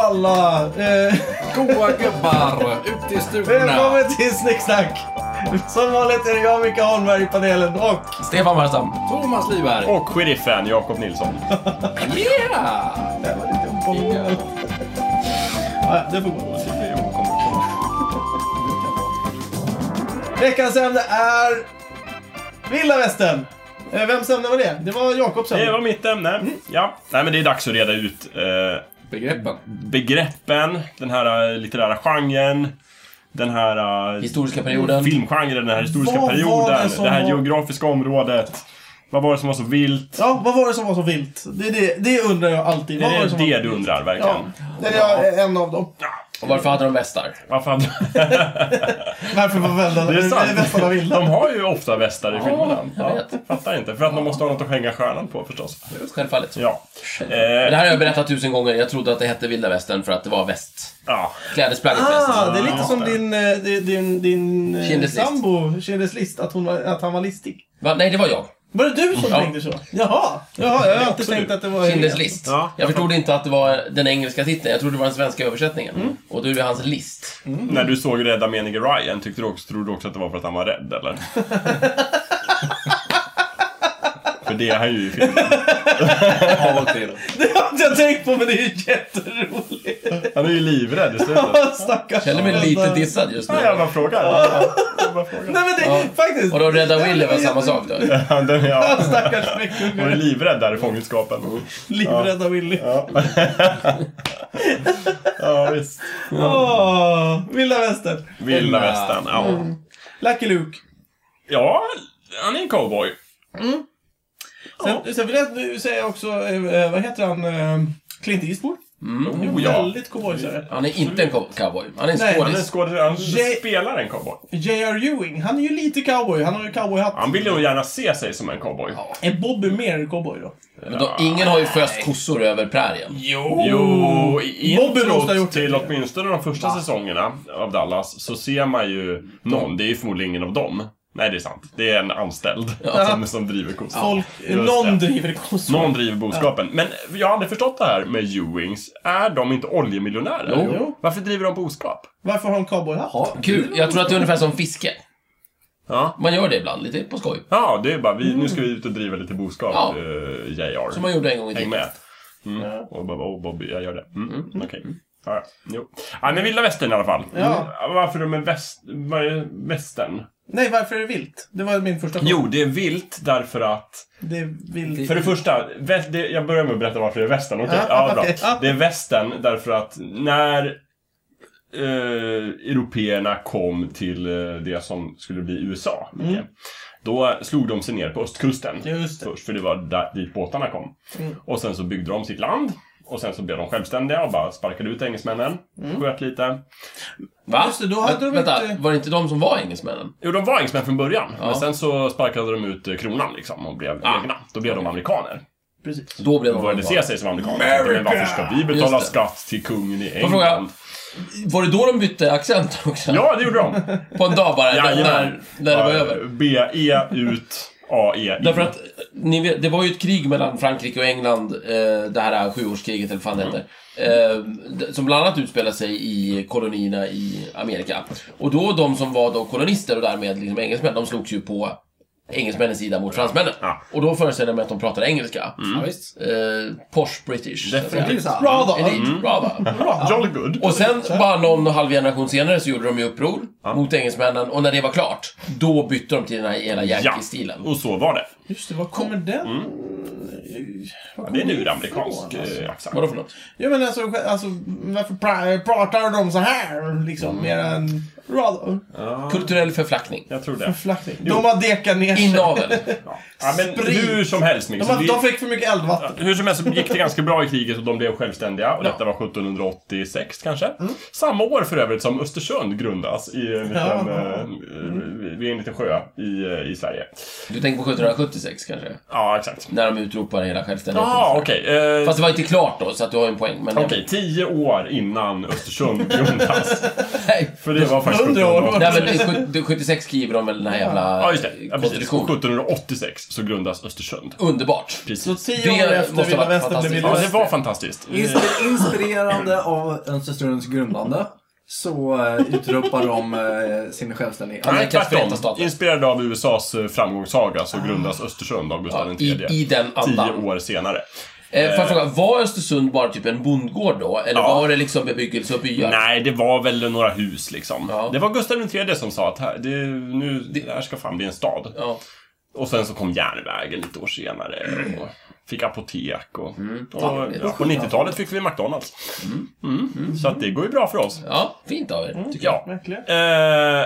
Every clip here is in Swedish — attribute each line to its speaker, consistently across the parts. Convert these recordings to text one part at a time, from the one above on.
Speaker 1: alla! Eh,
Speaker 2: Goa gubbar, ut i stugorna.
Speaker 1: välkommen till Snicksnack! Som vanligt är det jag, Micke Holmberg, i panelen och...
Speaker 3: Stefan Wallstam.
Speaker 2: Thomas Lyberg.
Speaker 4: Och sheriffen Jakob Nilsson.
Speaker 2: Yeah!
Speaker 1: Det var lite boll. Ja, det får gå. Veckans ämne är... Vilda Västern! Eh, Vems ämne var det? Det var Jakobs
Speaker 4: Det
Speaker 1: ämne.
Speaker 4: var mitt ämne. Ja. Mm. Nej men det är dags att reda ut eh,
Speaker 2: Begreppen.
Speaker 4: begreppen, den här eh, litterära genren, den här eh,
Speaker 3: Historiska perioden.
Speaker 4: filmgenren, den här historiska
Speaker 1: Vad var
Speaker 4: perioden,
Speaker 1: det
Speaker 4: det,
Speaker 1: som
Speaker 4: här
Speaker 1: var-
Speaker 4: geografiska området. Vad var det som var så vilt?
Speaker 1: Ja, vad var det som var så vilt? Det, det, det undrar jag alltid. Vad
Speaker 4: är
Speaker 1: var
Speaker 4: det
Speaker 1: som
Speaker 4: det
Speaker 1: var...
Speaker 4: du undrar
Speaker 1: Ja,
Speaker 4: verkligen?
Speaker 1: det är jag, eh, en av dem.
Speaker 3: Och varför hade de västar?
Speaker 4: Varför hade...
Speaker 1: Varför var
Speaker 4: Det är
Speaker 1: väldarna- västarna
Speaker 4: sant.
Speaker 1: vilda?
Speaker 4: De har ju ofta västar i filmerna.
Speaker 3: jag vet.
Speaker 4: fattar inte. För att de måste ha något att hänga stjärnan på förstås.
Speaker 3: Självfallet.
Speaker 4: Ja.
Speaker 3: Det
Speaker 4: Eh,
Speaker 3: här har jag berättat tusen gånger. Jag trodde att det hette vilda västern för att det var väst.
Speaker 4: ja.
Speaker 3: Klädesplagget
Speaker 1: Ah,
Speaker 3: väst.
Speaker 1: det är lite
Speaker 4: Ja,
Speaker 1: som
Speaker 4: där.
Speaker 1: din, eh, din, din, din eh,
Speaker 3: Kindeslist.
Speaker 1: sambo, kindeslist, att, hon var, att han var listig.
Speaker 3: Va? Nej, det var jag.
Speaker 1: Var det du som
Speaker 3: Ja.
Speaker 1: tänkte så? Jaha! Jaha jag har alltid
Speaker 4: också
Speaker 1: tänkt
Speaker 4: du.
Speaker 1: att det var...
Speaker 3: Kinders list.
Speaker 4: Ja.
Speaker 3: jag förstod inte att det var den engelska titeln. Jag trodde det var den svenska översättningen.
Speaker 1: Mm.
Speaker 3: Och du är hans list.
Speaker 4: När du såg Rädda menige Ryan, tyckte du också, trodde du också att det var för att han var rädd, eller? för det är han ju i filmen.
Speaker 2: Av och till.
Speaker 1: Det har inte jag tänkt på, men det är ju jätteroligt.
Speaker 4: Han är ju livrädd i slutet.
Speaker 1: Stackars
Speaker 3: Känner mig lite dissad just nu.
Speaker 4: Nej, jag bara frågar. Jag bara frågar.
Speaker 1: Nej men det,
Speaker 3: Ja.
Speaker 1: faktiskt.
Speaker 3: Och då Rädda Willy var samma sak då.
Speaker 4: Han, den, ja.
Speaker 1: Stackars
Speaker 4: han är
Speaker 1: fläckgubbe.
Speaker 4: livrädd där i fångenskapen.
Speaker 1: Livrädda Willy.
Speaker 4: Ja. ja, visst.
Speaker 1: Åh, vilda västern.
Speaker 4: Vilda västern. Ja.
Speaker 1: Lucky Luke.
Speaker 4: ja, han är en cowboy.
Speaker 1: Sen, sen vill jag nu säga också, eh, vad heter han, eh, Clint Eastwood?
Speaker 4: Oh, ja.
Speaker 1: Väldigt cowboysare.
Speaker 3: Han är inte en cow- cowboy. Han är en
Speaker 1: Nej,
Speaker 4: Han är
Speaker 3: skådis.
Speaker 4: skådespelare. Han
Speaker 1: J-
Speaker 4: spelar en cowboy.
Speaker 1: J.R. Ewing, han är ju lite cowboy. Han har ju cowboyhatt.
Speaker 4: Han vill nog gärna se sig som en cowboy.
Speaker 1: Är Bobby mer cowboy då?
Speaker 3: Men då, ingen har ju föst kossor över prärien.
Speaker 1: Jo!
Speaker 4: Jo, i
Speaker 1: Bobby måste ha gjort
Speaker 4: introt
Speaker 1: det.
Speaker 4: till åtminstone de första säsongerna av Dallas så ser man ju någon. Det är ju förmodligen ingen av dem. Nej, det är sant. Det är en anställd som, som driver kossan.
Speaker 1: Folk,
Speaker 4: Just
Speaker 1: någon
Speaker 4: det.
Speaker 1: driver kossor.
Speaker 4: Någon driver boskapen. Men jag har aldrig förstått det här med Ewings. Är de inte oljemiljonärer?
Speaker 3: Jo.
Speaker 1: Jo.
Speaker 4: Varför driver de boskap?
Speaker 1: Varför har han cowboyhatt?
Speaker 3: Kul. Jag tror att det är ungefär som fiske.
Speaker 4: Ja.
Speaker 3: Man gör det ibland, lite på skoj.
Speaker 4: Ja, det är bara vi, nu ska vi ut och driva lite boskap,
Speaker 3: Ja.
Speaker 4: eh, JR.
Speaker 3: Som man gjorde en gång i
Speaker 4: Häng
Speaker 3: tiden.
Speaker 4: med. Mm. Och Bobby, oh, Bobby, jag gör det. Mm. Okej. Ja, ja. jo. Ja, men vilda västern i alla fall.
Speaker 1: Ja.
Speaker 4: Mm. Varför de är väst... vad är Västern?
Speaker 1: Nej, varför är det vilt? Det var min första fråga.
Speaker 4: Jo, det är vilt därför att...
Speaker 1: Det är vilt.
Speaker 4: För det första, vä- det, jag börjar med att berätta varför det är västern. Okej, ja, bra.
Speaker 1: okej, ja.
Speaker 4: Det är västern därför att när eh, européerna kom till eh, det som skulle bli USA, Micke, då slog de sig ner på östkusten
Speaker 1: Mm. Just det. Mm.
Speaker 4: först, för det var där, dit båtarna kom. Och sen så byggde de sitt land. Och sen så blev de självständiga och bara sparkade ut engelsmännen.
Speaker 1: Mm.
Speaker 4: Sköt lite.
Speaker 3: Va?
Speaker 1: Just det, då hade
Speaker 3: Vä-
Speaker 1: de
Speaker 3: vänta,
Speaker 1: inte-
Speaker 3: var det inte de som var engelsmännen?
Speaker 4: Jo, de var engelsmän från början.
Speaker 3: Ja.
Speaker 4: Men sen så sparkade de ut eh, kronan liksom och blev
Speaker 3: Ah.
Speaker 4: egna. Då blev de amerikaner.
Speaker 1: Precis.
Speaker 3: Då blev de
Speaker 4: började se sig som amerikaner. Men varför ska vi betala
Speaker 3: Just det.
Speaker 4: skatt till kungen i
Speaker 3: Får jag
Speaker 4: England?
Speaker 3: Var det då de bytte accent också?
Speaker 4: Ja, det gjorde de.
Speaker 3: På en dag bara, när,
Speaker 4: Jajamän.
Speaker 3: när, när det var
Speaker 4: Ja,
Speaker 3: över.
Speaker 4: B-E ut A-E in.
Speaker 3: Därför att, eh, ni vet, det var ju ett krig mellan Frankrike och England, eh, det här sjuårskriget eller vad
Speaker 4: Mm.
Speaker 3: fan det heter. Eh, d- som bland annat utspelade sig i kolonierna i Amerika. Och då de som var då kolonister och därmed liksom engelsmän, de slogs ju på engelsmännens sida mot fransmännen.
Speaker 4: Ja. Mm.
Speaker 3: Och då föreställde jag mig att de pratade engelska.
Speaker 2: Ja, visst.
Speaker 3: Eh, posh British. så att säga.
Speaker 2: Det är ju så här.
Speaker 1: Bra då!
Speaker 3: Elite,
Speaker 4: Mm.
Speaker 3: bra va?
Speaker 4: Jolly good.
Speaker 3: Och sen bara någon och halv generation senare så gjorde de ju uppror
Speaker 4: Ja.
Speaker 3: mot engelsmännen och när det var klart, då bytte de till den här hela Yankee-stilen.
Speaker 4: och så var det.
Speaker 1: Just det, var kommer den?
Speaker 4: Mm.
Speaker 1: Var
Speaker 4: Det är en
Speaker 1: kommer
Speaker 4: uramerikansk
Speaker 1: ifrån, alltså?
Speaker 4: eh, accent.
Speaker 3: Vadå för något?
Speaker 1: Ja men alltså, alltså varför pra- pratar de så här
Speaker 4: Mm.
Speaker 1: liksom? Mer än... Rad...
Speaker 3: Kulturell förflackning.
Speaker 4: Jag tror det.
Speaker 1: Flackning. De har dekat ner sig.
Speaker 3: Inavel.
Speaker 4: Ja. Ja, men
Speaker 1: Sprit.
Speaker 4: hur som helst,
Speaker 1: De,
Speaker 4: Mix.
Speaker 1: har,
Speaker 4: det-
Speaker 1: de fick för mycket eldvatten.
Speaker 4: Hur som helst så gick det ganska bra i kriget och de blev självständiga. Och detta var 1786 kanske.
Speaker 3: Mm.
Speaker 4: Samma år för övrigt som Östersund grundas i en liten,
Speaker 1: Ja.
Speaker 4: eh, eh,
Speaker 3: Mm.
Speaker 4: vid en liten sjö i, eh, i Sverige.
Speaker 3: Du tänker på 1776 kanske?
Speaker 4: Ja, exakt.
Speaker 3: När de utropar hela
Speaker 4: Ja,
Speaker 3: självständigheten.
Speaker 4: ah, okej. eh,
Speaker 3: Fast det var inte klart då, så att du har en poäng. Men
Speaker 4: Okej, tio år innan Östersund grundas.
Speaker 3: Nej.
Speaker 4: För det var
Speaker 1: 100 år.
Speaker 3: Nej, men i sjut- 76 skriver de väl den här jävla
Speaker 4: Ja, just det. Ja, precis.
Speaker 3: konstitutionen.
Speaker 4: 1786 så grundas Östersund.
Speaker 3: Underbart.
Speaker 1: Så
Speaker 4: Precis.
Speaker 1: tio
Speaker 3: Det
Speaker 1: år efter
Speaker 3: måste ha
Speaker 1: Vilda
Speaker 3: varit
Speaker 1: Västern blev
Speaker 3: fantastiskt.
Speaker 1: vilda
Speaker 4: Ja, det
Speaker 1: västern.
Speaker 4: var fantastiskt.
Speaker 2: Inspi- Inspirerande av Östersunds grundande så eh, utropar de eh, sin självständighet.
Speaker 3: Han
Speaker 4: Nej,
Speaker 3: är kanske Förenta
Speaker 4: tvärtom.
Speaker 3: staterna.
Speaker 4: Inspirerad av USAs eh, framgångssaga så grundas Östersund av Gustav
Speaker 3: I,
Speaker 4: III.
Speaker 3: I den
Speaker 4: Tio
Speaker 3: andan.
Speaker 4: år senare.
Speaker 3: Eh, får jag fråga, var Östersund bara typ en bondgård då? Eller
Speaker 4: Ja.
Speaker 3: var det liksom bebyggelse och byar?
Speaker 4: Nej, det var väl några hus liksom.
Speaker 3: Ja.
Speaker 4: Det var Gustav III som sa att här, det, nu, det här ska fan bli en stad.
Speaker 3: Ja.
Speaker 4: Och sen så kom järnvägen lite år senare. Och fick apotek och... och
Speaker 3: Mm. Ja, det är
Speaker 4: ja, på 90-talet fick vi McDonalds. Mm. Så att det går ju bra för oss.
Speaker 3: ja, fint av er, tycker jag.
Speaker 4: Ja.
Speaker 1: Verkligen.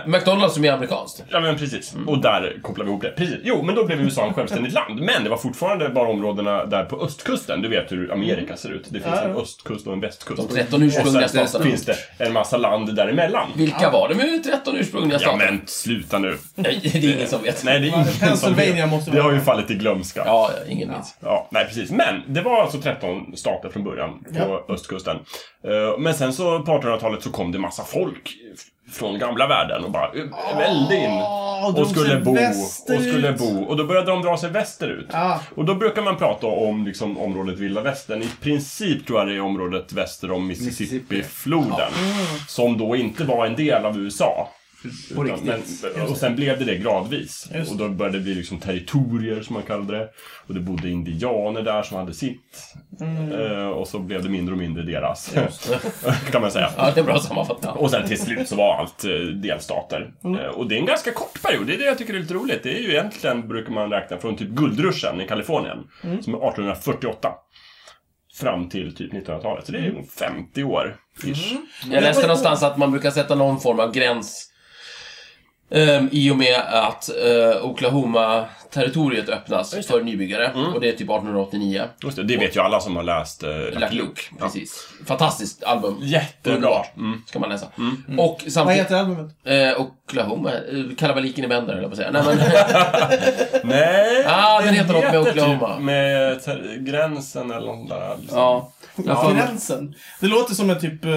Speaker 4: Eh,
Speaker 3: McDonalds som är amerikanskt.
Speaker 4: ja men precis.
Speaker 3: Mm.
Speaker 4: Och där kopplar vi ihop det. Precis. Jo, men då blev USA en självständigt land. Men det var fortfarande bara områdena där på östkusten. Du vet hur Amerika ser ut. Det finns
Speaker 1: Ja,
Speaker 4: en
Speaker 1: ja.
Speaker 4: östkust och en västkust.
Speaker 3: De 13 ursprungliga
Speaker 4: och sen
Speaker 3: staterna.
Speaker 4: finns det en massa land däremellan.
Speaker 3: Vilka var de med 13 ursprungliga
Speaker 4: Ja
Speaker 3: staterna?
Speaker 4: men sluta nu.
Speaker 3: Nej, det är ingen som vet.
Speaker 4: Nej, det är ingen som
Speaker 1: Pennsylvania
Speaker 4: vet.
Speaker 1: måste
Speaker 4: Det
Speaker 1: vara-
Speaker 4: har ju fallit i glömska.
Speaker 3: Ja, ingen minns.
Speaker 4: Ja, nej precis. Men det var alltså 13 stater från början på östkusten. Eh, Men sen så på 1800-talet så kom det massa folk f- från gamla världen och bara eh, välde in.
Speaker 1: drog
Speaker 4: Och skulle,
Speaker 1: sig
Speaker 4: bo, och
Speaker 1: Ah, västerut.
Speaker 4: skulle bo. Och då började de dra sig västerut.
Speaker 1: Ja.
Speaker 4: Och då brukar man prata om liksom, området Vilda Västern. I princip tror jag det är området väster om Mississippifloden.
Speaker 1: Mm.
Speaker 4: Som då inte var en del av USA.
Speaker 2: Alltså, På
Speaker 4: Utan-
Speaker 2: riktigt.
Speaker 4: Men, och sen blev det det gradvis.
Speaker 1: Just
Speaker 4: Och då började det bli liksom territorier som man kallade det. Och det bodde indianer där som hade sitt. Eh, och så blev det mindre och mindre deras. kan man säga.
Speaker 3: Ja, det är bra sammanfattat.
Speaker 4: Och sen till slut så var allt eh, delstater. Eh, och det är en ganska kort period, det är det jag tycker är lite roligt. Det är ju egentligen, brukar man räkna, från typ guldruschen i Kalifornien. Som är 1848. Fram till typ 1900-talet. Så det är ju 50 år. Ish.
Speaker 3: Jag läste någonstans att man brukar sätta någon form av gräns ehm, i och med att eh, Oklahoma-territoriet öppnas för nybyggare. Och det är typ 1889.
Speaker 4: Just det, det vet ju alla som har läst eh,
Speaker 3: Black Luke, precis. Fantastiskt album.
Speaker 4: Jättebra.
Speaker 3: Underbart.
Speaker 4: Mm.
Speaker 3: Ska man läsa. Och
Speaker 1: Vad
Speaker 3: samtidigt...
Speaker 1: heter albumet?
Speaker 3: Eh, Oklahoma? Eh, Kalabaliken i Bender, höll jag på att säga. Nej, men,
Speaker 4: Nej,
Speaker 3: Ah, den heter något med Oklahoma.
Speaker 4: Typ med ter- gränsen eller något där. Liksom.
Speaker 3: ja. Jag får-
Speaker 1: Gränsen. Det låter som en typ... eh,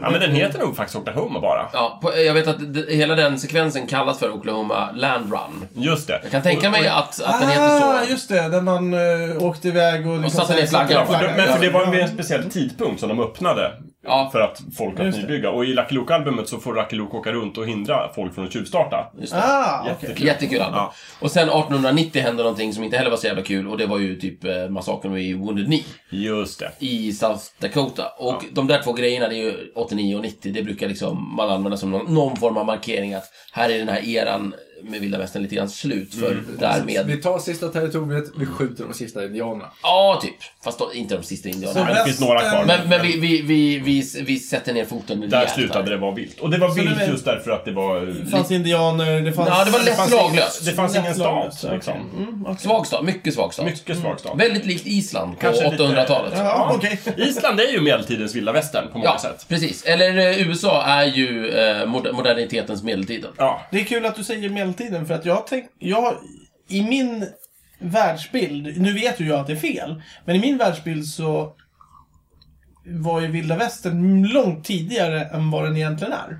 Speaker 4: ja, men den heter nog faktiskt Oklahoma bara.
Speaker 3: Ja, på, jag vet att d- hela den sekvensen kallas för Oklahoma Land Run.
Speaker 4: Just det.
Speaker 3: Jag kan tänka mig att, att den heter
Speaker 1: Ah,
Speaker 3: så.
Speaker 1: just det. Där man eh, åkte iväg och... liksom
Speaker 3: satte ner
Speaker 1: sen-
Speaker 3: flaggan.
Speaker 4: Ja, för de, men för det var
Speaker 1: Ja.
Speaker 4: vid en speciell tidpunkt som de öppnade
Speaker 3: Ja.
Speaker 4: för att folk att
Speaker 1: Just det.
Speaker 4: nybygga. Och i Lucky Luke-albumet så får Lucky Luke åka runt och hindra folk från att tjuvstarta.
Speaker 3: Just det.
Speaker 1: Ah, okej.
Speaker 4: Jättekul.
Speaker 3: Jättekul album.
Speaker 4: Ja.
Speaker 3: Och sen 1890 hände någonting som inte heller var så jävla kul och det var ju typ eh, massakern i Wounded Knee
Speaker 4: Just det.
Speaker 3: i South Dakota. Och de där två grejerna, det är ju 89 och 90, det brukar liksom man använda som någon, någon form av markering att här är den här eran med vilda västern lite grann slut för därmed.
Speaker 2: Vi tar sista territoriet, vi skjuter de sista indianerna.
Speaker 3: Ja, typ. Fast då, inte de sista
Speaker 1: Så
Speaker 3: indianerna.
Speaker 4: det finns några kvar.
Speaker 1: västern-
Speaker 3: Men, men vi, vi, vi, vi, vi sätter ner foten
Speaker 4: Där
Speaker 3: rejält
Speaker 4: slutade
Speaker 3: här.
Speaker 4: det vara vilt. Och det var
Speaker 1: det
Speaker 4: vilt
Speaker 1: var-
Speaker 4: just därför att det var...
Speaker 1: Det fanns indianer, det fanns...
Speaker 3: Ja, det var lätt
Speaker 1: fanns-
Speaker 3: laglöst.
Speaker 4: Det fanns
Speaker 1: Lätt
Speaker 4: ingen
Speaker 1: lagligt,
Speaker 4: stat,
Speaker 1: okej.
Speaker 4: liksom.
Speaker 1: Mm, okej.
Speaker 3: Svag stat, mycket svag stat.
Speaker 4: Mycket svag stat.
Speaker 3: Väldigt likt Island på
Speaker 4: Kanske lite-
Speaker 3: 800-talet.
Speaker 1: Ja, okej.
Speaker 4: Island är ju medeltidens vilda västern på många
Speaker 3: Ja,
Speaker 4: sätt.
Speaker 3: precis. Eller eh, USA är ju eh, moder- modernitetens medeltiden.
Speaker 4: Ja,
Speaker 1: Det är kul att du säger medeltiden, för att jag tänk, jag, i min världsbild, nu vet ju jag att det är fel, men i min världsbild så var ju vilda västern långt tidigare än vad den egentligen är.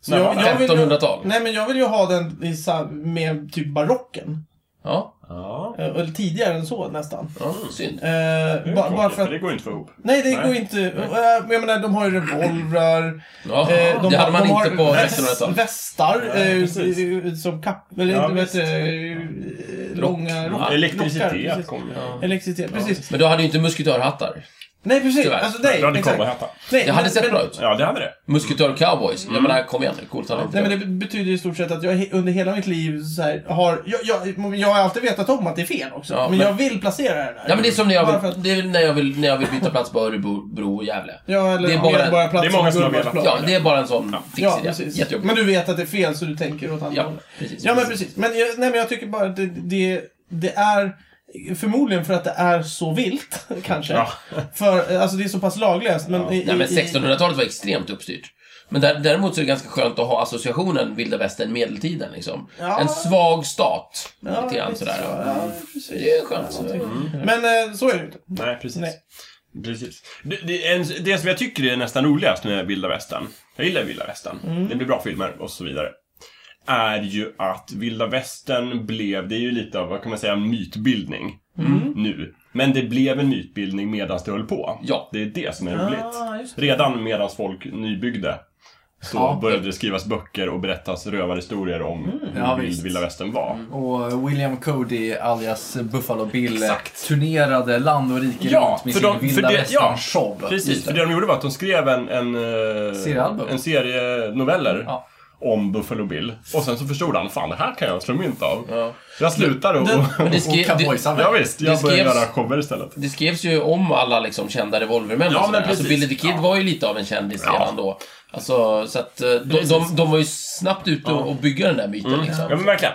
Speaker 1: Så
Speaker 4: När
Speaker 1: jag-
Speaker 4: var det?
Speaker 1: jag vill ju-
Speaker 3: 1500-tal.
Speaker 1: Nej, men jag vill ju ha den i, sa- med typ barocken.
Speaker 3: Ja,
Speaker 4: Ja.
Speaker 1: Eh, Eller tidigare än så nästan.
Speaker 3: ja synd.
Speaker 1: Eh, ba, bara för att,
Speaker 4: Det går inte för ihop.
Speaker 1: nej, det går inte. Eh, men jag menar, de har ju revolvrar.
Speaker 3: Ja,
Speaker 1: Eh,
Speaker 3: det hade
Speaker 1: har-
Speaker 3: man
Speaker 1: de
Speaker 3: inte på
Speaker 1: har
Speaker 3: 1600-talet.
Speaker 1: Västar eh,
Speaker 4: precis.
Speaker 1: eh, som kapp... Eller
Speaker 4: Ja,
Speaker 1: inte vet
Speaker 4: visst.
Speaker 1: eh, Långa rockar. rockar,
Speaker 4: Elektricitet
Speaker 1: precis.
Speaker 4: kom ju.
Speaker 1: Elektricitet, precis.
Speaker 3: Men du hade ju inte musketörhattar.
Speaker 1: Nej, precis.
Speaker 3: Tyvärr.
Speaker 1: Alltså,
Speaker 4: Det
Speaker 1: nej,
Speaker 4: hade
Speaker 1: exakt.
Speaker 4: cowboyhattar.
Speaker 1: Nej,
Speaker 3: Det hade
Speaker 1: men-
Speaker 3: sett
Speaker 1: men-
Speaker 3: bra ut.
Speaker 4: Ja, det hade det.
Speaker 3: Musketör-cowboys. Jag menar, kom igen nu. Coolt hade det inte
Speaker 1: Nej, men
Speaker 3: varit.
Speaker 1: det betyder i stort sett att jag he- under hela mitt liv så här, har... Jag, jag, jag har alltid vetat om att det är fel också.
Speaker 3: Ja,
Speaker 1: men,
Speaker 3: men-
Speaker 1: jag vill placera det där.
Speaker 3: Ja, men det är som när
Speaker 1: Bara
Speaker 3: jag
Speaker 1: för
Speaker 3: vill,
Speaker 1: att-
Speaker 3: det är när jag vill, när jag vill byta plats på Örebro och Gävle.
Speaker 1: Ja, eller
Speaker 3: det är bara-
Speaker 1: Medborgarplats
Speaker 4: det är många som har
Speaker 1: och
Speaker 4: velat.
Speaker 1: Gullmarsplan.
Speaker 3: Ja, det är bara en sån
Speaker 1: Ja,
Speaker 3: fix idé.
Speaker 1: precis.
Speaker 3: Jättejobbigt.
Speaker 1: Men du vet att det är fel så du tänker åt andra
Speaker 3: Ja,
Speaker 1: hållet.
Speaker 3: precis.
Speaker 1: Ja, men precis. Men jag, nej, men jag tycker bara att det, det, det är förmodligen för att det är så vilt, kanske.
Speaker 4: Ja.
Speaker 1: För eh, alltså, det är så pass laglöst. Men, i,
Speaker 3: Nej, men
Speaker 1: i-
Speaker 3: 1600-talet var extremt uppstyrt. Men där, däremot så är det ganska skönt att ha associationen vilda västern medeltiden liksom.
Speaker 1: Ja.
Speaker 3: En svag stat.
Speaker 1: Ja,
Speaker 3: lite grann
Speaker 1: lite
Speaker 3: sådär.
Speaker 1: så, ja, precis. Mm.
Speaker 3: Det är skönt.
Speaker 1: Men eh, så är det ju inte.
Speaker 4: Nej, precis.
Speaker 1: Nej.
Speaker 4: Precis. Det, det, är en, det som jag tycker är nästan roligast med vilda västern, jag gillar vilda västern, det blir bra filmer och så vidare, är ju att vilda västern blev, det är ju lite av, vad kan man säga, mytbildning nu. Men det blev en mytbildning medan det höll på.
Speaker 3: Ja.
Speaker 4: Det är det som är roligt.
Speaker 1: just
Speaker 4: Redan medan folk nybyggde så
Speaker 2: Ja.
Speaker 4: började det skrivas böcker och berättas rövarhistorier om hur
Speaker 2: Ja,
Speaker 4: vild
Speaker 2: visst.
Speaker 4: vilda västern var.
Speaker 2: Och William Cody alias Buffalo Bill turnerade land och rike
Speaker 4: Ja,
Speaker 2: runt med
Speaker 4: för
Speaker 2: sin
Speaker 4: de- för
Speaker 2: vilda
Speaker 4: det- ja,
Speaker 2: västern-show.
Speaker 4: Precis, för det de gjorde var att de skrev en, en, eh,
Speaker 2: Seriealbum.
Speaker 4: en serie noveller
Speaker 2: Ja.
Speaker 4: om Buffalo Bill. Och sen så förstod han, fan det här kan jag slå mynt av.
Speaker 3: Ja.
Speaker 4: Jag slutar och...
Speaker 1: Den-
Speaker 4: och
Speaker 3: Men det,
Speaker 2: Och
Speaker 3: skrev, det,
Speaker 2: cowboysamhälle.
Speaker 4: ja, visst, jag
Speaker 3: det
Speaker 4: började
Speaker 3: skrevs-
Speaker 4: göra shower istället.
Speaker 3: det skrevs ju om alla liksom kända revolvermän
Speaker 4: Ja,
Speaker 3: och sådär.
Speaker 4: men
Speaker 3: Alltså
Speaker 4: precis.
Speaker 3: Billy the Kid
Speaker 4: Ja.
Speaker 3: var ju lite av en kändis
Speaker 4: Ja.
Speaker 3: redan då. Alltså, så att eh, de, de, de var ju snabbt ute och, och bygga den där myten liksom.
Speaker 4: Mm. Ja men verkligen.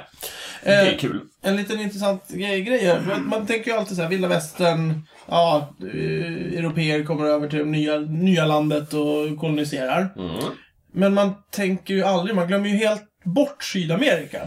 Speaker 4: Det är
Speaker 1: Eh,
Speaker 4: kul.
Speaker 1: En liten intressant grej, grej här. Man, man tänker ju alltid så här, vilda västern, ja, eh, europeer kommer över till det nya, nya landet och koloniserar. Men man tänker ju aldrig, man glömmer ju helt bort Sydamerika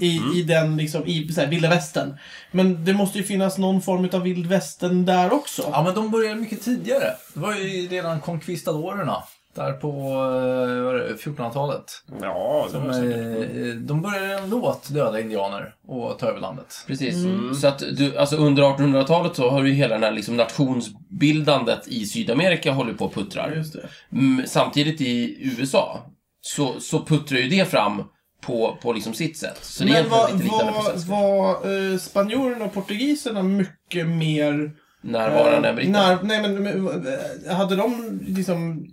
Speaker 1: i, i den liksom, i så här, vilda västern. Men det måste ju finnas någon form av vild västern där också.
Speaker 2: Ja, men de började mycket tidigare. Det var ju redan konkvistadorerna. Där på eh, vad är det, 1400-talet.
Speaker 4: Ja, det
Speaker 2: De,
Speaker 4: var säkert.
Speaker 2: eh, de började ändå åt döda indianer och ta över landet.
Speaker 3: Precis.
Speaker 1: Mm.
Speaker 3: Så att du, alltså under 1800-talet så har ju hela den här liksom nationsbildandet i Sydamerika håller på och puttrar.
Speaker 1: Just det.
Speaker 3: Mm, samtidigt i USA så, så puttrar ju det fram på, på liksom sitt sätt. Så det är
Speaker 1: Men var,
Speaker 3: egentligen lite liknande
Speaker 1: var,
Speaker 3: process.
Speaker 1: var eh, spanjorerna och portugiserna mycket mer
Speaker 3: Närvarande britter.
Speaker 1: eh, när, nej men, men eh, hade de liksom,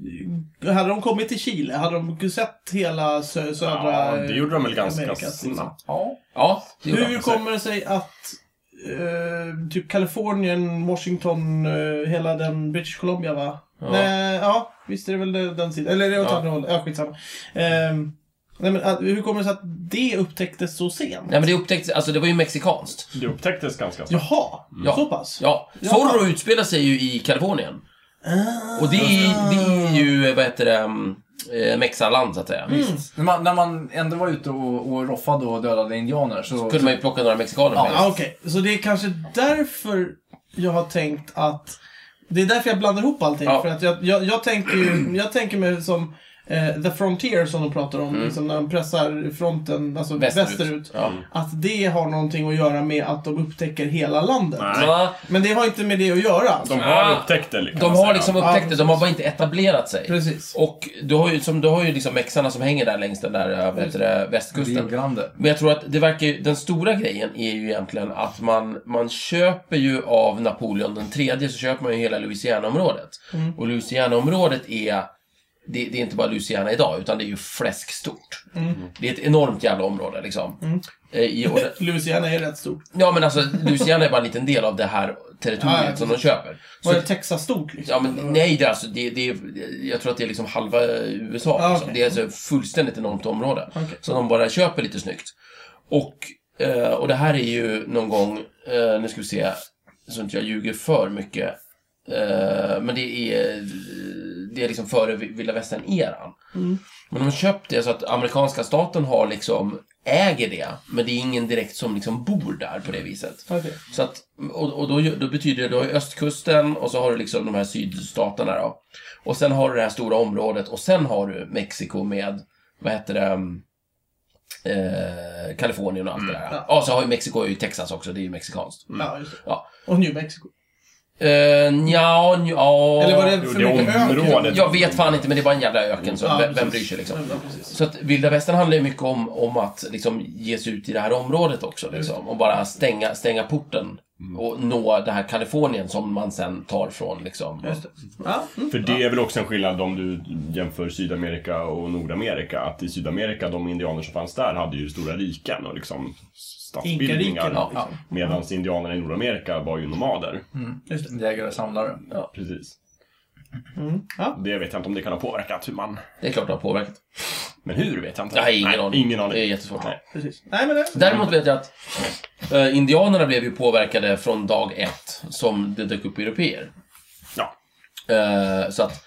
Speaker 1: hade de kommit till Chile? Hade de sett hela sö, södra
Speaker 4: Ja, det gjorde de väl ganska
Speaker 1: Amerikas, liksom?
Speaker 4: snabbt.
Speaker 2: Ja,
Speaker 3: Ja, det gjorde
Speaker 1: Hur
Speaker 3: de.
Speaker 1: kommer det sig att eh, typ Kalifornien, Washington, eh, hela den British Columbia va?
Speaker 3: Ja.
Speaker 1: Nej, ja, visst är det väl det- den sidan. Eller är det åt
Speaker 3: Ja.
Speaker 1: andra hållet? Ja, skitsamma. Ehm, nej, men, att, hur kommer det sig att det upptäcktes så sent?
Speaker 3: Nej men det upptäcktes, alltså det var ju mexikanskt.
Speaker 4: Det upptäcktes ganska snabbt.
Speaker 1: Jaha,
Speaker 3: Ja.
Speaker 1: så pass?
Speaker 3: Ja,
Speaker 1: Ja. Ah.
Speaker 3: Zorro utspelar sig ju i Kalifornien. Och det är, det är ju, vad heter det, mm, eh, Mexaland så att
Speaker 1: Mm.
Speaker 3: säga.
Speaker 2: När man, när man ändå var ute och, och roffade och dödade indianer så...
Speaker 3: Kunde man ju plocka några mexikaner med.
Speaker 1: Ja, Ah, okej. Så det är kanske därför jag har tänkt att... Det är därför jag blandar ihop allting.
Speaker 3: Ja.
Speaker 1: För att jag, jag, jag tänker ju, jag tänker mig som eh, The Frontier som de pratar om, liksom, när de pressar fronten, alltså västerut.
Speaker 3: Mm. Västerut. Ja.
Speaker 1: Att det har någonting att göra med att de upptäcker hela landet.
Speaker 4: Nej.
Speaker 3: Ja,
Speaker 1: Men det har inte med det att göra.
Speaker 4: De har
Speaker 3: Ah.
Speaker 4: upptäckt det. kan
Speaker 3: De
Speaker 4: man
Speaker 3: har
Speaker 4: säga.
Speaker 3: liksom
Speaker 1: Ja,
Speaker 3: upptäckt det,
Speaker 1: precis.
Speaker 3: de har bara inte etablerat sig.
Speaker 1: Precis.
Speaker 3: Och du har ju, som, du har ju liksom mexarna som hänger där längs den där äh, vad heter det,
Speaker 2: Rio
Speaker 3: västkusten.
Speaker 2: Grande.
Speaker 3: Men jag tror att det verkar ju, den stora grejen är ju egentligen att man, man köper ju av Napoleon den tredje så köper man ju hela Louisiana-området.
Speaker 1: Mm.
Speaker 3: Och Louisiana-området är, det, det är inte bara Louisiana idag, utan det är ju fläskstort.
Speaker 1: Mm.
Speaker 3: Det är ett enormt jävla område liksom. Eh, I, och det,
Speaker 1: Louisiana är rätt stort.
Speaker 3: ja men alltså, Louisiana är bara en liten del av det här territoriet
Speaker 1: Ja, ja,
Speaker 3: som de köper. Så
Speaker 1: Var är Texas stort liksom?
Speaker 3: Ja, men nej, det är alltså, det, det, jag tror att det är liksom halva USA.
Speaker 1: Ah,
Speaker 3: liksom.
Speaker 1: okej.
Speaker 3: Det är alltså ett fullständigt enormt område.
Speaker 1: Okej.
Speaker 3: Så de bara köper lite snyggt. Och, eh, och det här är ju någon gång, eh, nu ska vi se, så inte jag ljuger för mycket. Eh, men det är, det är liksom före vilda västern-eran.
Speaker 1: Mm.
Speaker 3: Men de har köpt det så att amerikanska staten har liksom, äger det. Men det är ingen direkt som liksom bor där på det viset.
Speaker 1: Okej.
Speaker 3: Så att, och och då, då betyder det, du har ju östkusten och så har du liksom de här sydstaterna då. Och sen har du det här stora området och sen har du Mexiko med, vad heter det, um, eh, Kalifornien och allt det där.
Speaker 1: Mm. ja.
Speaker 3: Ja, så har ju Mexiko ju Texas också, det är ju mexikanskt.
Speaker 1: Ja, just det.
Speaker 3: Ja.
Speaker 1: Och New Mexico.
Speaker 3: Eh, nja, nja.
Speaker 1: Eller var det
Speaker 4: Jo,
Speaker 1: för
Speaker 4: det är
Speaker 1: mycket öken?
Speaker 4: området.
Speaker 3: liksom Jag vet fan inte, men det är bara en jävla öken, så
Speaker 1: Ja,
Speaker 3: vem,
Speaker 1: precis.
Speaker 3: vem bryr sig liksom?
Speaker 1: Ja, precis.
Speaker 3: Så att vilda västern handlar ju mycket om, om att liksom ge sig ut i det här området också. Liksom, och bara stänga, stänga porten och nå det här Kalifornien som man sen tar från. Liksom.
Speaker 1: Just det. Ja, mm.
Speaker 4: För det är väl också en skillnad om du jämför Sydamerika och Nordamerika. Att i Sydamerika, de indianer som fanns där hade ju stora riken och liksom statsbildningar.
Speaker 1: Inkariken,
Speaker 4: Ja.
Speaker 1: ja.
Speaker 4: Medan indianerna i Nordamerika var ju nomader.
Speaker 3: Mm.
Speaker 1: Just det.
Speaker 2: Jägare och samlare.
Speaker 4: Precis.
Speaker 1: Mm. Ja.
Speaker 4: Det vet jag inte om det kan ha påverkat hur man...
Speaker 3: Det är klart det har påverkat.
Speaker 4: Men hur vet jag inte.
Speaker 3: Jag har ingen aning.
Speaker 4: Ingen aning.
Speaker 3: Det är jättesvårt.
Speaker 4: Nej.
Speaker 1: Precis. Nej, men det...
Speaker 3: Däremot vet jag att eh, indianerna blev ju påverkade från dag ett som det dök upp europeer.
Speaker 4: Ja.
Speaker 3: Eh, så att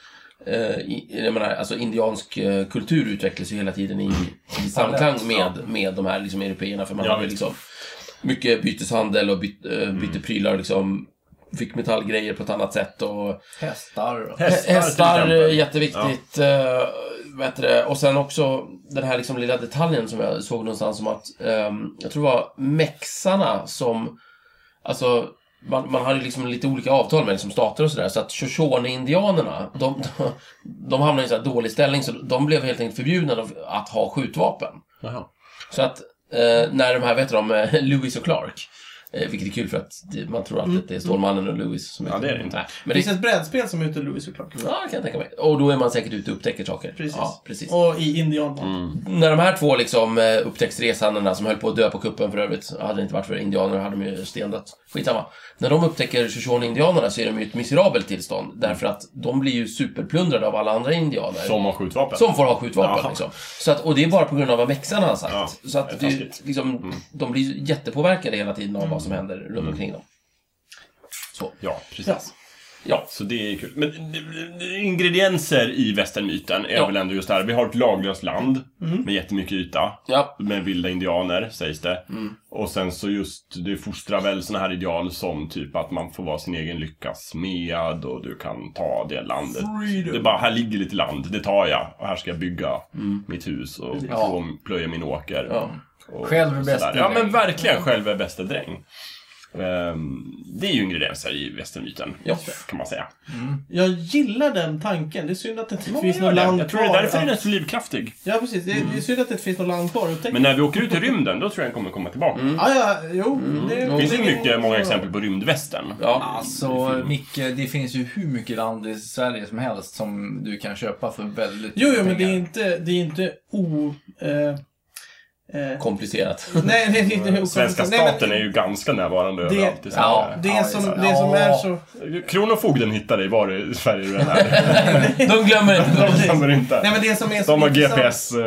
Speaker 3: eh, i- jag menar, alltså indiansk eh, kultur utvecklas ju hela tiden i, i samklang med, med de här liksom, européerna. För man
Speaker 4: Ja,
Speaker 3: har ju
Speaker 4: visst.
Speaker 3: liksom mycket byteshandel och byt, eh, bytte prylar liksom fick metallgrejer på ett annat sätt. Och,
Speaker 2: Hästar och...
Speaker 4: Hästar,
Speaker 3: Hästar, eh,
Speaker 4: till exempel.
Speaker 3: jätteviktigt. Ja. vet du, det? och sen också den här liksom lilla detaljen som jag såg någonstans som att, ehm, jag tror det var mexarna som, alltså, man, man hade liksom lite olika avtal med liksom stater och sådär, så att Shoshone-indianerna, de, de, de hamnade i en sån här dålig ställning, så de blev helt enkelt förbjudna av- att ha skjutvapen.
Speaker 4: Jaha.
Speaker 3: Så att eh, när de här, vet du om eh, Lewis och Clark, eh, vilket är kul för att det, man tror alltid att det är Stålmannen och Lewis som
Speaker 4: Ja, det är det inte.
Speaker 3: Nej, men
Speaker 1: finns ett brädspel som heter Louis och Clark.
Speaker 3: Ja, kan jag tänka mig. Och då är man säkert ute och upptäcker saker.
Speaker 1: Precis.
Speaker 3: Ja, precis.
Speaker 1: Och i Indianland.
Speaker 4: Mm.
Speaker 3: När de här två liksom, eh, upptäcktsresandena som höll på att dö på kuppen för övrigt, hade det inte varit för indianer hade de ju stendött. Skitsamma. När de upptäcker Shoshone-indianerna så är de ju i ett miserabelt tillstånd. Därför att de blir ju superplundrade av alla andra indianer.
Speaker 4: Som har skjutvapen.
Speaker 3: Som får ha skjutvapen.
Speaker 4: Ja.
Speaker 3: Liksom. Så att, och det är bara på grund av vad mexarna har sagt.
Speaker 4: Ja,
Speaker 3: så att
Speaker 4: det är
Speaker 3: det,
Speaker 4: taskigt. Mm.
Speaker 3: liksom, de blir ju jättepåverkade hela tiden av vad som händer runt omkring
Speaker 4: Mm.
Speaker 3: dem. Så,
Speaker 4: Ja, precis.
Speaker 1: Ja.
Speaker 3: ja.
Speaker 4: Så det är kul. Men eh, ingredienser i västernmyten är
Speaker 3: Ja.
Speaker 4: väl ändå just det här. Vi har ett laglöst land
Speaker 1: Mm.
Speaker 4: med jättemycket yta.
Speaker 3: Ja,
Speaker 4: Med vilda indianer, sägs det.
Speaker 1: Mm.
Speaker 4: Och sen så just, det fostrar väl såna här ideal som typ att man får vara sin egen lyckas smed och du kan ta det landet.
Speaker 1: Freedom.
Speaker 4: Det är bara, här ligger lite land, det tar jag. Och här ska jag bygga
Speaker 1: Mm.
Speaker 4: mitt hus och
Speaker 3: Ja.
Speaker 4: få plöja min åker.
Speaker 3: Ja.
Speaker 4: Och
Speaker 2: Själv är
Speaker 4: sådär.
Speaker 2: bästa
Speaker 4: Ja,
Speaker 2: dräng.
Speaker 4: men
Speaker 1: Mm.
Speaker 4: verkligen själv är bästa dräng. Ehm, Det är ju ingredienser i västernmyten,
Speaker 3: Ja.
Speaker 4: kan man säga.
Speaker 1: Jag gillar den tanken. Det är synd att det inte finns
Speaker 4: gör
Speaker 1: något land
Speaker 4: Jag tror
Speaker 1: kvar.
Speaker 4: det är därför den är
Speaker 1: att-
Speaker 4: så livskraftig.
Speaker 1: Ja, precis. Det är,
Speaker 4: Mm.
Speaker 1: det är synd att det inte finns något land kvar att upptäcka.
Speaker 4: Men när vi åker ut i rymden, då tror jag den kommer komma tillbaka.
Speaker 1: Ja, ja, jo. Det
Speaker 4: Mm. Det finns
Speaker 1: Mm.
Speaker 4: ju mycket, många exempel på rymdvästen.
Speaker 3: ja.
Speaker 2: Alltså, Micke, det finns ju hur mycket land i Sverige som helst som du kan köpa för väldigt
Speaker 1: Jo, jo,
Speaker 2: mycket
Speaker 1: men det är
Speaker 2: pengar.
Speaker 1: inte, det är inte o... Eh, eh, nej,
Speaker 3: komplicerat.
Speaker 1: nej, det är inte okomplicerat.
Speaker 4: Mm. Svenska
Speaker 1: Nej, men
Speaker 4: staten är ju ganska närvarande
Speaker 1: Det-
Speaker 4: överallt i
Speaker 3: Ja.
Speaker 4: Sverige.
Speaker 1: Det
Speaker 2: Ja,
Speaker 1: som,
Speaker 2: det är sant.
Speaker 1: det som är så...
Speaker 4: Kronofogden hittar dig var i Sverige du än är.
Speaker 3: De glömmer inte.
Speaker 4: De glömmer inte.
Speaker 1: Nej, men det som är så
Speaker 4: De har
Speaker 1: intressant-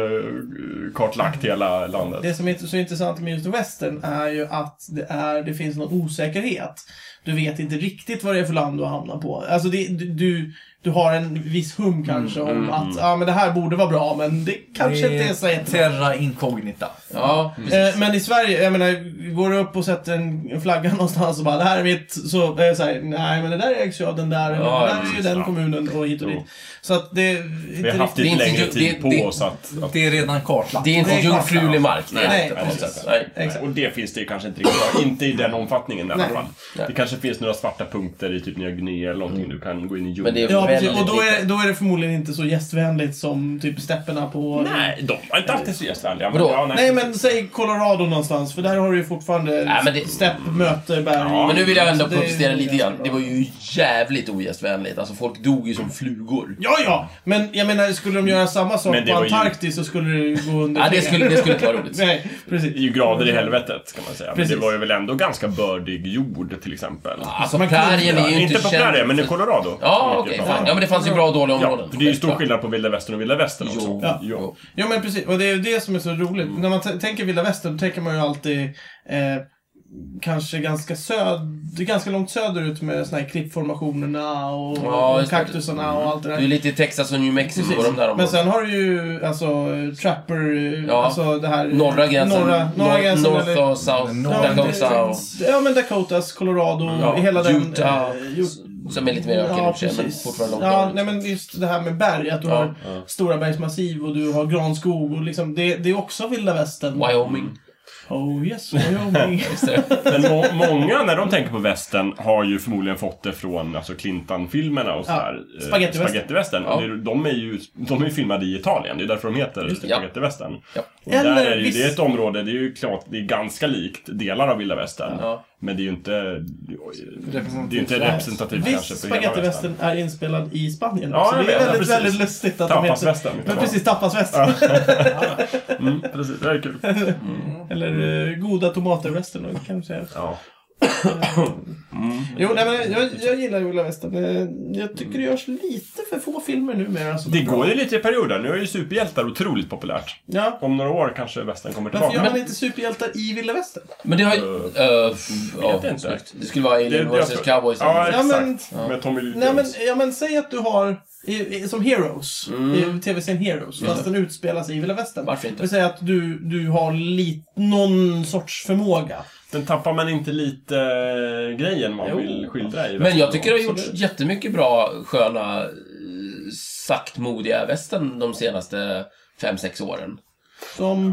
Speaker 4: GPS-kartlagt eh, hela landet.
Speaker 1: Det som är så intressant med just västern är ju att det, är, det finns någon osäkerhet. Du vet inte riktigt vad det är för land du har hamnat på. Alltså det, du- du, du har en viss hum kanske
Speaker 4: Mm,
Speaker 1: om att ja, men det här borde vara bra, men det kanske inte är så jättebra.
Speaker 2: Terra incognita.
Speaker 3: Ja,
Speaker 1: Eh, men i Sverige, jag menar, går du upp och sätter en en flagga någonstans och bara det här är mitt, så är det såhär, nej men det där ägs ju av den där,
Speaker 3: Ja,
Speaker 1: det där är ju
Speaker 4: precis,
Speaker 1: den
Speaker 4: ja.
Speaker 1: kommunen och hit och dit.
Speaker 4: Jo.
Speaker 1: Så att det...
Speaker 4: Vi har haft
Speaker 3: Det är
Speaker 4: lite
Speaker 3: inte-
Speaker 4: längre
Speaker 3: det-
Speaker 4: tid
Speaker 3: det-
Speaker 4: på
Speaker 3: det-
Speaker 4: oss att... att
Speaker 2: Det är redan kartlagt.
Speaker 3: det är inte
Speaker 1: Det är
Speaker 3: jungfrulig mark. det är det
Speaker 1: Nej,
Speaker 3: inte på något
Speaker 1: precis.
Speaker 3: sätt. Nej.
Speaker 1: Exakt.
Speaker 4: och det finns det ju kanske inte riktigt kvar. Inte i den omfattningen i alla
Speaker 1: Nej.
Speaker 4: fall. Det kanske finns några svarta punkter i typ Nya Guinea eller någonting. Du kan gå in i
Speaker 3: Mm. Men det
Speaker 4: djungeln.
Speaker 3: är
Speaker 1: Ja,
Speaker 3: väldigt
Speaker 1: precis. Och då är,
Speaker 3: lite.
Speaker 1: då är det förmodligen inte så gästvänligt som typ stepperna på...
Speaker 4: Nej, de var inte alltid så gästvänliga. men
Speaker 3: Vadå?
Speaker 4: ja,
Speaker 1: Nej, men säg Colorado någonstans, för där har du ju fortfarande
Speaker 3: Nej, men det-
Speaker 1: stepp, möte, berg.
Speaker 4: Ja,
Speaker 3: Men nu vill jag ändå
Speaker 1: Så det är
Speaker 3: protestera lite
Speaker 1: ganska
Speaker 3: grann.
Speaker 1: bra.
Speaker 3: Det var ju jävligt ogästvänligt. Alltså folk dog ju som flugor.
Speaker 1: Ja, ja! Men jag menar, skulle de göra samma sak
Speaker 4: Men det
Speaker 1: på
Speaker 4: var ju-
Speaker 1: Antarktis så skulle det ju gå under...
Speaker 3: Ja, det skulle, det skulle inte vara roligt.
Speaker 1: Nej, precis.
Speaker 4: Det är ju grader i helvetet kan man säga.
Speaker 1: Precis.
Speaker 4: Men det var ju väl ändå ganska bördig jord till exempel.
Speaker 3: Alltså
Speaker 1: Man kunde
Speaker 3: prärien är ju inte,
Speaker 4: inte på
Speaker 3: känd
Speaker 4: prärien, men i
Speaker 3: för-
Speaker 4: Colorado.
Speaker 3: Ja, okej.
Speaker 4: Mycket
Speaker 3: fine.
Speaker 4: bra.
Speaker 3: ja, men det fanns ju bra och dåliga
Speaker 4: Ja,
Speaker 3: områden.
Speaker 4: för det är ju stor skillnad på vilda västern och vilda västern också.
Speaker 3: Jo.
Speaker 1: Ja.
Speaker 4: Jo.
Speaker 3: Jo.
Speaker 1: Ja men precis, och det är ju det som är så roligt. När man t- tänker vilda västern då tänker man ju alltid eh, kanske ganska söd ganska långt söderut med såna här klippformationerna och,
Speaker 3: Ja,
Speaker 1: och
Speaker 3: just det.
Speaker 1: kaktusarna och allt det där.
Speaker 3: Du är lite i Texas och New Mexico och de där
Speaker 1: Men
Speaker 3: områdena.
Speaker 1: sen har du ju alltså eh, Trapper, eh,
Speaker 3: Ja.
Speaker 1: alltså det här...
Speaker 3: Norra gränsen.
Speaker 1: Norra, norra
Speaker 3: Nor-
Speaker 1: gränsen
Speaker 3: North
Speaker 1: eller...
Speaker 3: och South
Speaker 2: North
Speaker 3: Dakota. Och,
Speaker 1: Ja men Dakotas, Colorado,
Speaker 3: ja,
Speaker 1: hela den... eh,
Speaker 3: Utah.
Speaker 1: Ut-
Speaker 3: som är lite mer öken i och för sig, men
Speaker 1: precis.
Speaker 3: fortfarande långt
Speaker 1: Ja,
Speaker 3: norrut.
Speaker 1: nej men just det här med berg, att du
Speaker 3: Ja.
Speaker 1: har stora bergsmassiv och du har granskog och liksom, det, det är också vilda västern.
Speaker 3: Wyoming.
Speaker 1: Oh yes, Wyoming.
Speaker 3: Visst är det?
Speaker 4: Men må många, när de tänker på västern, har ju förmodligen fått det från alltså Clintan-filmerna och sådär.
Speaker 1: Ja, spagettivästern.
Speaker 4: Spagettivästern.
Speaker 3: Ja.
Speaker 4: Och det är- De är ju de är ju filmade i Italien, det är därför de heter
Speaker 1: Just det.
Speaker 4: spagettivästern.
Speaker 3: Ja.
Speaker 4: Och där
Speaker 1: Eller
Speaker 4: är det, ju,
Speaker 1: viss-
Speaker 4: det är ett område, det är ju klart, det är ganska likt delar av vilda västern.
Speaker 3: Ja.
Speaker 4: Men det är ju inte, det är ju inte representativt kanske
Speaker 1: Viss
Speaker 4: för hela västern.
Speaker 1: spagettivästern är inspelad i Spanien
Speaker 4: Ja,
Speaker 1: också.
Speaker 4: jag
Speaker 1: Det är
Speaker 4: vet, ja,
Speaker 1: väldigt,
Speaker 4: precis.
Speaker 1: väldigt lustigt att de heter...
Speaker 4: Tapasvästern.
Speaker 1: Men precis, tapasvästern.
Speaker 4: Mm, precis, det är kul.
Speaker 1: Eller eh, goda tomater-västern kan man säga.
Speaker 4: Ja.
Speaker 1: Jo, nej, men jag, jag gillar ju vilda västern. Eh, Jag tycker det görs lite för få filmer numera. som är
Speaker 4: Det
Speaker 1: bra.
Speaker 4: går ju lite i perioder. Nu är ju superhjältar otroligt populärt.
Speaker 1: Ja.
Speaker 4: Om några år kanske västern kommer
Speaker 1: Varför
Speaker 4: tillbaka.
Speaker 1: gör man
Speaker 4: Men
Speaker 1: inte superhjältar i vilda västern?
Speaker 3: Men det har ju... eh, f- ja,
Speaker 4: inte.
Speaker 3: snyggt. Det skulle vara
Speaker 4: Det-
Speaker 3: Alien
Speaker 4: jag
Speaker 3: vs
Speaker 4: tror-
Speaker 3: Cowboys.
Speaker 4: Ja,
Speaker 1: Ja, men-
Speaker 4: exakt. Med Tommy Lee
Speaker 1: Nej, men,
Speaker 4: Jones.
Speaker 1: ja, men säg att du har i, i, som Heroes, i tv-serien Heroes, fast den utspelas i vilda västern.
Speaker 3: Varför Mm. inte?
Speaker 1: Det vill säga att du, du har lit, någon sorts förmåga.
Speaker 4: Den tappar man inte lite eh, grejen man
Speaker 3: Jo.
Speaker 4: vill skildra i
Speaker 3: Men jag tycker det har
Speaker 4: Absolut.
Speaker 3: gjorts jättemycket bra, sköna, eh, saktmodiga västern de senaste 5-6 åren.
Speaker 1: Som...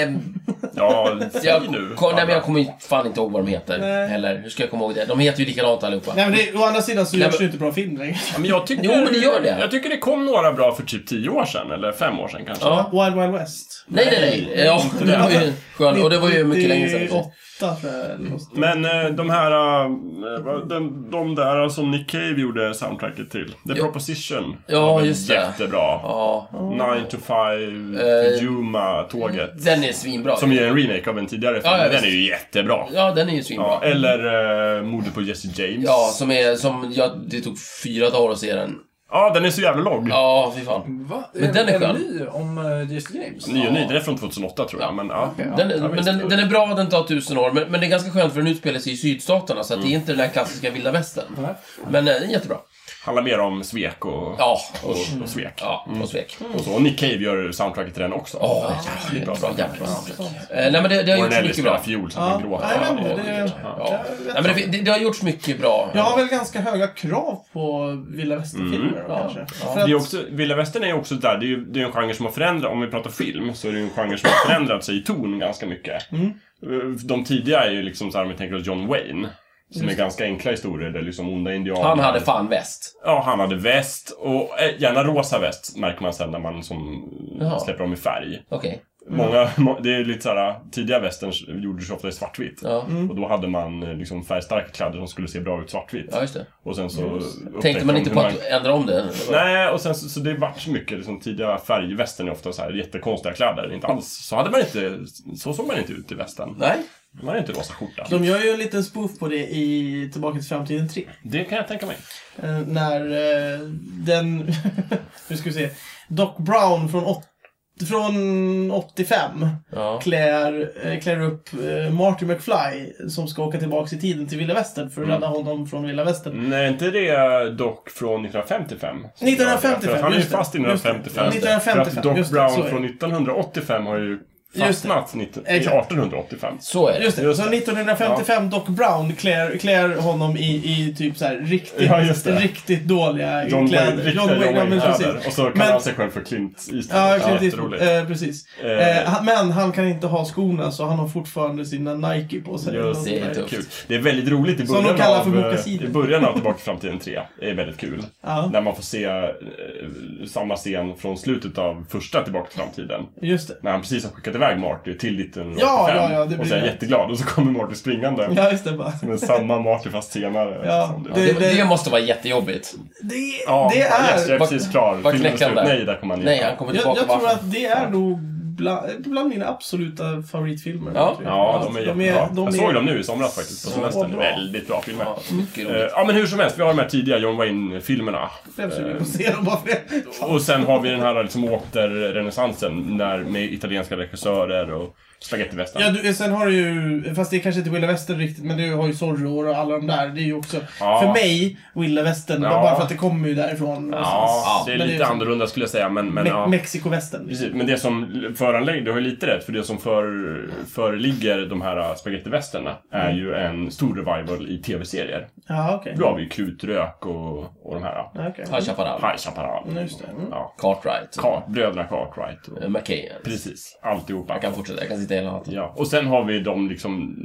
Speaker 3: Eh,
Speaker 4: Ja, säg
Speaker 3: jag,
Speaker 4: nu.
Speaker 3: kom, nej, men jag
Speaker 4: Anna.
Speaker 3: kommer ju fan inte ihåg vad de heter
Speaker 1: Nej.
Speaker 3: heller. Hur ska jag komma ihåg det? De heter ju likadant allihopa.
Speaker 1: Nej men det, å andra sidan så
Speaker 3: Nej,
Speaker 1: görs
Speaker 3: men-
Speaker 1: det ju inte bra film längre.
Speaker 4: Ja, men jag tycker,
Speaker 3: Jo, men det gör det.
Speaker 4: Jag tycker det kom några bra för typ 10 år sedan, eller 5 år sedan kanske.
Speaker 3: Ja.
Speaker 1: Wild Wild West.
Speaker 3: Nej, nej, nej. Ja, det var ju skönt. Och det var ju mycket länge sedan.
Speaker 1: 98 tror jag. eller något sånt.
Speaker 4: Men eh, de här... eh, vad- Den, de där eh, som Nick Cave gjorde soundtracket till. The
Speaker 3: Ja.
Speaker 4: Proposition.
Speaker 3: Ja,
Speaker 4: var väl
Speaker 3: just det.
Speaker 4: Jättebra.
Speaker 3: Ja,
Speaker 4: 9 to 5,
Speaker 3: Eh,
Speaker 4: Yuma-tåget.
Speaker 3: den är svinbra.
Speaker 4: Som är en remake av en tidigare film.
Speaker 3: Ja, ja,
Speaker 4: den
Speaker 3: visst.
Speaker 4: är ju jättebra.
Speaker 3: Ja, den är ju
Speaker 4: Ja,
Speaker 3: svinbra.
Speaker 4: eller eh, Mordet på Jesse James.
Speaker 3: Ja, som är, som, ja, det tog fyra dagar att se den.
Speaker 4: Ja, den är så jävla lång.
Speaker 3: Ja, fy fan.
Speaker 2: Va?
Speaker 3: Men den är
Speaker 2: en
Speaker 3: skön.
Speaker 2: ny om eh, Just Games?
Speaker 4: Ny och ny, den är från 2008 tror jag.
Speaker 3: Ja.
Speaker 4: Men, ja.
Speaker 2: Okej, ja.
Speaker 3: Den,
Speaker 4: ja,
Speaker 3: men
Speaker 4: visst.
Speaker 3: den, den är bra, den tar tusen år, men, men det är ganska skönt för den utspelar sig i sydstaterna, så att det är inte den här klassiska vilda västern.
Speaker 2: Nej.
Speaker 3: Men eh, den är jättebra.
Speaker 4: Handlar mer om svek och,
Speaker 3: Ja,
Speaker 4: och,
Speaker 3: usch.
Speaker 4: och svek.
Speaker 3: Ja, och svek.
Speaker 4: Och så, och Nick Cave gör soundtracket till den också.
Speaker 3: Åh, jävligt bra. Jävligt bra. Eh, nej, men det, det har
Speaker 4: Warren
Speaker 3: gjorts
Speaker 4: Ellis
Speaker 3: mycket
Speaker 4: spelar
Speaker 3: bra.
Speaker 4: fiol så att
Speaker 1: Ja,
Speaker 4: man
Speaker 1: nej,
Speaker 4: gråter.
Speaker 1: men det, det,
Speaker 4: Ja,
Speaker 3: Ja. Nej, men det, det, det har gjorts mycket bra.
Speaker 1: jag har väl ganska höga krav på vilda västern-filmer då,
Speaker 3: Mm. Ja.
Speaker 1: kanske.
Speaker 3: Ja.
Speaker 1: För att-
Speaker 4: Det är också, vilda västern är ju också där, det är ju det är en genre som har förändrats, om vi pratar film, så är det ju en genre som har förändrat sig i ton ganska mycket.
Speaker 3: Mm.
Speaker 4: Eh, De tidiga är ju liksom såhär, om vi tänker oss John Wayne, som är ganska enkla historier, där liksom onda indianer...
Speaker 3: Han hade fan väst.
Speaker 4: Ja, han hade väst, och eh, gärna rosa väst, märker man sen när man som
Speaker 3: Jaha.
Speaker 4: släpper dem i färg.
Speaker 3: Okej.
Speaker 4: Många, må- det är lite såhär, tidiga västerns gjordes ju ofta i svartvitt.
Speaker 3: Ja.
Speaker 4: Och då hade man eh, liksom färgstarka kläder som skulle se bra ut svartvitt.
Speaker 3: ja, just det.
Speaker 4: Och sen så... upptäckte
Speaker 3: Tänkte man
Speaker 4: de
Speaker 3: inte
Speaker 4: hur
Speaker 3: på att ändra om det?
Speaker 4: Mm. Nej, och sen så, så det vart så mycket liksom, tidiga färgvästen är ofta så här jättekonstiga kläder. Inte alls. Så hade man inte... Så såg man inte ut i västen.
Speaker 3: Nej.
Speaker 4: Man hade inte rosa skjorta.
Speaker 1: De gör ju en liten spoof på det i Tillbaka till framtiden 3.
Speaker 4: Det kan jag tänka mig.
Speaker 1: Eh, när eh, den... nu ska vi se. Doc Brown från, åt, från 85
Speaker 3: Ja.
Speaker 1: klär, eh, klär upp eh, Marty McFly som ska åka tillbaka i tiden till vilda västern för att
Speaker 3: Mm.
Speaker 1: rädda honom från vilda västern.
Speaker 4: Nej, inte det dock från 1955.
Speaker 1: 1955,
Speaker 4: För att han är ju
Speaker 1: just det.
Speaker 4: fast i
Speaker 1: Just det.
Speaker 4: 1955.
Speaker 1: Ja, 1955,
Speaker 4: För att Doc
Speaker 1: just det, så är
Speaker 4: Brown
Speaker 1: det.
Speaker 4: från 1985 har ju
Speaker 1: Just det.
Speaker 4: fastnat 19, i
Speaker 1: Exakt.
Speaker 4: 1885.
Speaker 3: Så är det.
Speaker 1: Just det,
Speaker 4: Just
Speaker 1: så 1955 Doc Brown klär, klär honom i, i typ så här riktigt,
Speaker 4: Ja, just det.
Speaker 1: riktigt dåliga
Speaker 4: John Wayne,
Speaker 1: kläder.
Speaker 4: riktiga John Wayne,
Speaker 1: ja, men
Speaker 4: kläder.
Speaker 1: precis.
Speaker 4: Och så kallar
Speaker 1: Men-
Speaker 4: han sig själv för Clint Eastwood.
Speaker 1: Ja, Clint Eastwood.
Speaker 4: Jätteroligt.
Speaker 1: Eh, precis.
Speaker 4: Eh,
Speaker 1: Eh, han- men han kan inte ha skorna så han har fortfarande sina Nike på sig.
Speaker 4: Just
Speaker 3: det,
Speaker 1: Något
Speaker 3: är
Speaker 1: sånt
Speaker 3: tufft.
Speaker 1: där.
Speaker 4: Kul. Det är väldigt roligt i
Speaker 1: Som
Speaker 4: början
Speaker 1: de kallar för
Speaker 4: av, eh,
Speaker 1: mockasiner.
Speaker 4: I början av Tillbaka till framtiden 3. Det är väldigt kul.
Speaker 1: Ja,
Speaker 4: När man får se eh, samma scen från slutet av första Tillbaka till framtiden.
Speaker 1: just det.
Speaker 4: När han precis har skickat iväg Marty till 1985.
Speaker 1: Ja, ja, ja, det blir
Speaker 4: och så är han
Speaker 1: det.
Speaker 4: jätteglad och så kommer Marty springande.
Speaker 1: Ja, just det. Bara.
Speaker 4: Men samma Marty fast senare.
Speaker 1: Ja,
Speaker 4: Som
Speaker 1: det-
Speaker 3: Det, det måste vara jättejobbigt.
Speaker 1: Det,
Speaker 4: Ja,
Speaker 1: det är...
Speaker 4: Yes, jag är
Speaker 3: Vad-
Speaker 4: precis klar.
Speaker 3: vad
Speaker 4: Filmen är
Speaker 3: knäcker
Speaker 4: slut.
Speaker 3: han där?
Speaker 4: Nej, där kommer han in.
Speaker 3: Nej, han kommer
Speaker 1: jag,
Speaker 3: tillbaka.
Speaker 1: jag tror
Speaker 3: bara-
Speaker 1: att det är nog bland, bland mina absoluta favoritfilmer.
Speaker 3: Ja.
Speaker 1: tror jag. Alltså,
Speaker 4: Ja, de är
Speaker 1: de är-
Speaker 4: jättebra.
Speaker 1: de
Speaker 4: jag
Speaker 1: är-
Speaker 4: såg dem nu i somras faktiskt, på
Speaker 1: Så
Speaker 4: semestern.
Speaker 1: bra.
Speaker 4: Väldigt bra filmer.
Speaker 3: Ja, mycket
Speaker 4: Eh,
Speaker 3: roligt.
Speaker 4: Ja, men hur som helst, vi har de här tidiga John Wayne-filmerna.
Speaker 1: Jag försöker se dem bara för det.
Speaker 4: Och sen har vi den här liksom återrenässansen när, med italienska regissörer och spagettivästern.
Speaker 1: Ja, du, eh, sen har du ju, fast det är kanske inte Willa Western riktigt, men du har ju Zorro och alla de där. Det är ju också,
Speaker 4: Ja.
Speaker 1: för mig, Willa Western.
Speaker 4: Ja.
Speaker 1: Bara för att det kommer ju därifrån. Alltså,
Speaker 4: Ja, det är
Speaker 1: Men
Speaker 4: lite
Speaker 1: ju som
Speaker 4: annorlunda skulle jag säga, men, men
Speaker 1: Me-
Speaker 4: ja.
Speaker 1: Mexiko-västern. liksom.
Speaker 4: Precis, men det som föranlägger, du har ju lite rätt, för det som för, föreligger de här äh, spagettivästerna är
Speaker 3: Mm.
Speaker 4: ju en stor revival i tv-serier.
Speaker 1: Ja, okej.
Speaker 4: Då har vi ju Krutrök och, och de här.
Speaker 1: Ja, okej.
Speaker 3: High Chaparral.
Speaker 4: High Chaparral.
Speaker 1: Ja, just det. Mm.
Speaker 4: Ja.
Speaker 3: Cartwright.
Speaker 4: Ka- Bröderna Cartwright. Och,
Speaker 3: Eh, McKayen.
Speaker 4: precis, alltihopa.
Speaker 3: Jag kan fortsätta, jag kan sitta hela natten.
Speaker 4: Ja, och sen har vi de liksom,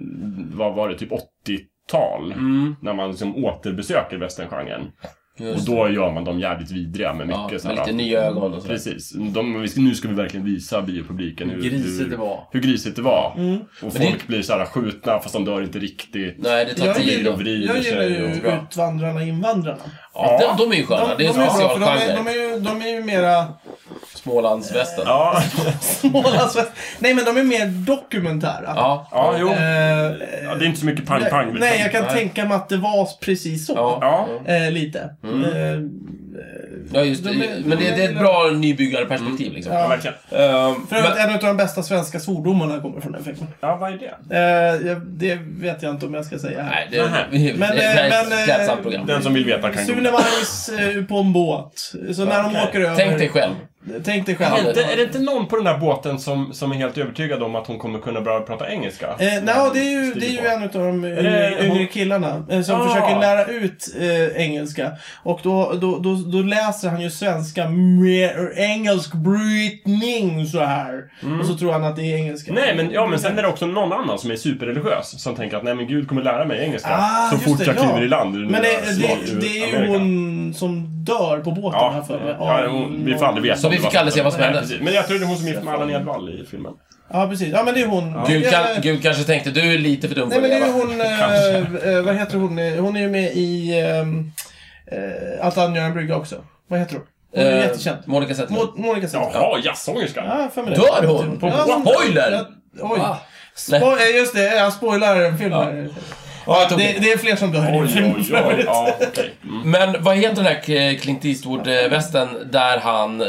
Speaker 4: vad var det, typ 80-tal. När man liksom återbesöker westerngenren. Och
Speaker 3: Mm. Just.
Speaker 4: då gör man dem jävligt vidriga med
Speaker 3: Ja,
Speaker 4: mycket
Speaker 3: med
Speaker 4: sådana...
Speaker 3: lite nya ögon och sådär.
Speaker 4: Precis. De, vi ska- nu ska vi verkligen visa biopubliken hur
Speaker 2: Grisigt det
Speaker 4: hur,
Speaker 2: var.
Speaker 4: hur grisigt det var.
Speaker 1: Mm.
Speaker 4: Och folk
Speaker 3: det-
Speaker 4: blir såhär skjutna fast de dör inte riktigt.
Speaker 3: Nej, det tar
Speaker 1: Jag
Speaker 3: tid.
Speaker 4: gillar-
Speaker 1: gillar,
Speaker 4: och vrider
Speaker 1: jag gillar
Speaker 4: sig
Speaker 1: ju
Speaker 4: och- Bra.
Speaker 1: Utvandrarna Invandrarna.
Speaker 3: Ja, de, de är ju sköna. det är en
Speaker 1: bra, för de, är, de,
Speaker 3: specialgenre.
Speaker 1: är ju, de är ju mera...
Speaker 3: Smålandsvästen. Ja,
Speaker 4: Ja,
Speaker 1: Smålandsväst. Nej, men de är mer dokumentära.
Speaker 3: ja.
Speaker 4: ja jo.
Speaker 1: Eh,
Speaker 4: Ja, det är inte så mycket
Speaker 1: nej,
Speaker 4: pang-pang. liksom.
Speaker 1: nej, jag kan
Speaker 3: Nej.
Speaker 1: tänka mig att det var precis så.
Speaker 4: Ja.
Speaker 1: Eh, lite.
Speaker 3: Mm.
Speaker 1: Eh,
Speaker 3: just det.
Speaker 1: De är-
Speaker 3: Men det, det är ett
Speaker 1: de är-
Speaker 3: bra nybyggarperspektiv liksom.
Speaker 4: Ja,
Speaker 1: Ja.
Speaker 4: verkligen.
Speaker 3: Ehm,
Speaker 1: för övrigt,
Speaker 3: men-
Speaker 1: en av de bästa svenska svordomarna kommer från den filmen.
Speaker 4: Ja, vad är det?
Speaker 1: Eh, jag- det vet jag inte om jag ska säga här.
Speaker 3: Nej, det,
Speaker 4: Nähä.
Speaker 1: Men,
Speaker 3: det, det här
Speaker 1: eh,
Speaker 3: är
Speaker 1: men, eh,
Speaker 3: ett klädsamt program.
Speaker 4: Den som vill veta kan
Speaker 1: Sunemais eh, på en båt. Så när de
Speaker 4: Okej.
Speaker 1: åker över...
Speaker 3: Tänk dig själv.
Speaker 1: Tänk dig
Speaker 4: Är det,
Speaker 1: själv.
Speaker 4: inte, är det inte någon på den där båten som, som är helt övertygad om att hon kommer kunna börja prata engelska?
Speaker 1: Eh, nej, det är ju, det är ju en av de yngre,
Speaker 4: det-
Speaker 1: yngre killarna eh, som
Speaker 4: Ah.
Speaker 1: försöker lära ut eh, engelska. Och då, då, då, då läser han ju svenska med engelsk brytning så här. Och så tror han att det är engelska.
Speaker 4: Mm. Nej, men, ja, men sen är det också någon annan som är superreligiös som tänker att nej men Gud kommer lära mig engelska
Speaker 1: Ah,
Speaker 4: så
Speaker 1: just
Speaker 4: fort
Speaker 1: det,
Speaker 4: jag
Speaker 1: ja.
Speaker 4: kliver i land i den
Speaker 1: Men
Speaker 4: där
Speaker 1: det, det,
Speaker 4: smart-
Speaker 1: det är ju
Speaker 4: Amerika.
Speaker 1: hon som dör på båten här
Speaker 4: Ja,
Speaker 1: för mig.
Speaker 4: ja, ja, vi får aldrig veta.
Speaker 3: Så
Speaker 4: om
Speaker 3: vi
Speaker 4: det
Speaker 3: fick
Speaker 4: var-
Speaker 3: aldrig se vad som
Speaker 4: Nej,
Speaker 3: hände.
Speaker 4: precis. Men jag tror det är hon som gick med Allan Edwall i filmen.
Speaker 1: Ja, precis. Ja, men det är hon.
Speaker 3: Gud,
Speaker 1: Eller-
Speaker 3: kan, Gud kanske tänkte du är lite för dum för
Speaker 1: Nej men det är ju
Speaker 3: leva.
Speaker 1: hon, eh, eh, vad heter hon? Eh, Hon är ju med i ehm, eh, Allt annat gör en brygga också. Vad heter hon? Hon är ju
Speaker 3: Eh,
Speaker 1: jättekänd.
Speaker 3: Monica Zetterlund.
Speaker 1: Mo- Monica Zetterlund.
Speaker 4: Jaha, jazzsångerskan.
Speaker 1: Ja, för mig.
Speaker 3: Dör hon?
Speaker 1: Ja, hon-
Speaker 3: Spoiler!
Speaker 1: Ja, Oj.
Speaker 2: Ah.
Speaker 3: Nej.
Speaker 1: Spo- eh, just det, jag spoilar en film här.
Speaker 3: Ja, jag tog
Speaker 1: Det, det är fler som dör eh, i den
Speaker 4: Oj, oj,
Speaker 1: filmen.
Speaker 4: oj. Ja, okej. Mm.
Speaker 3: Men vad heter den här K- Clint Eastwood-västen där han eh,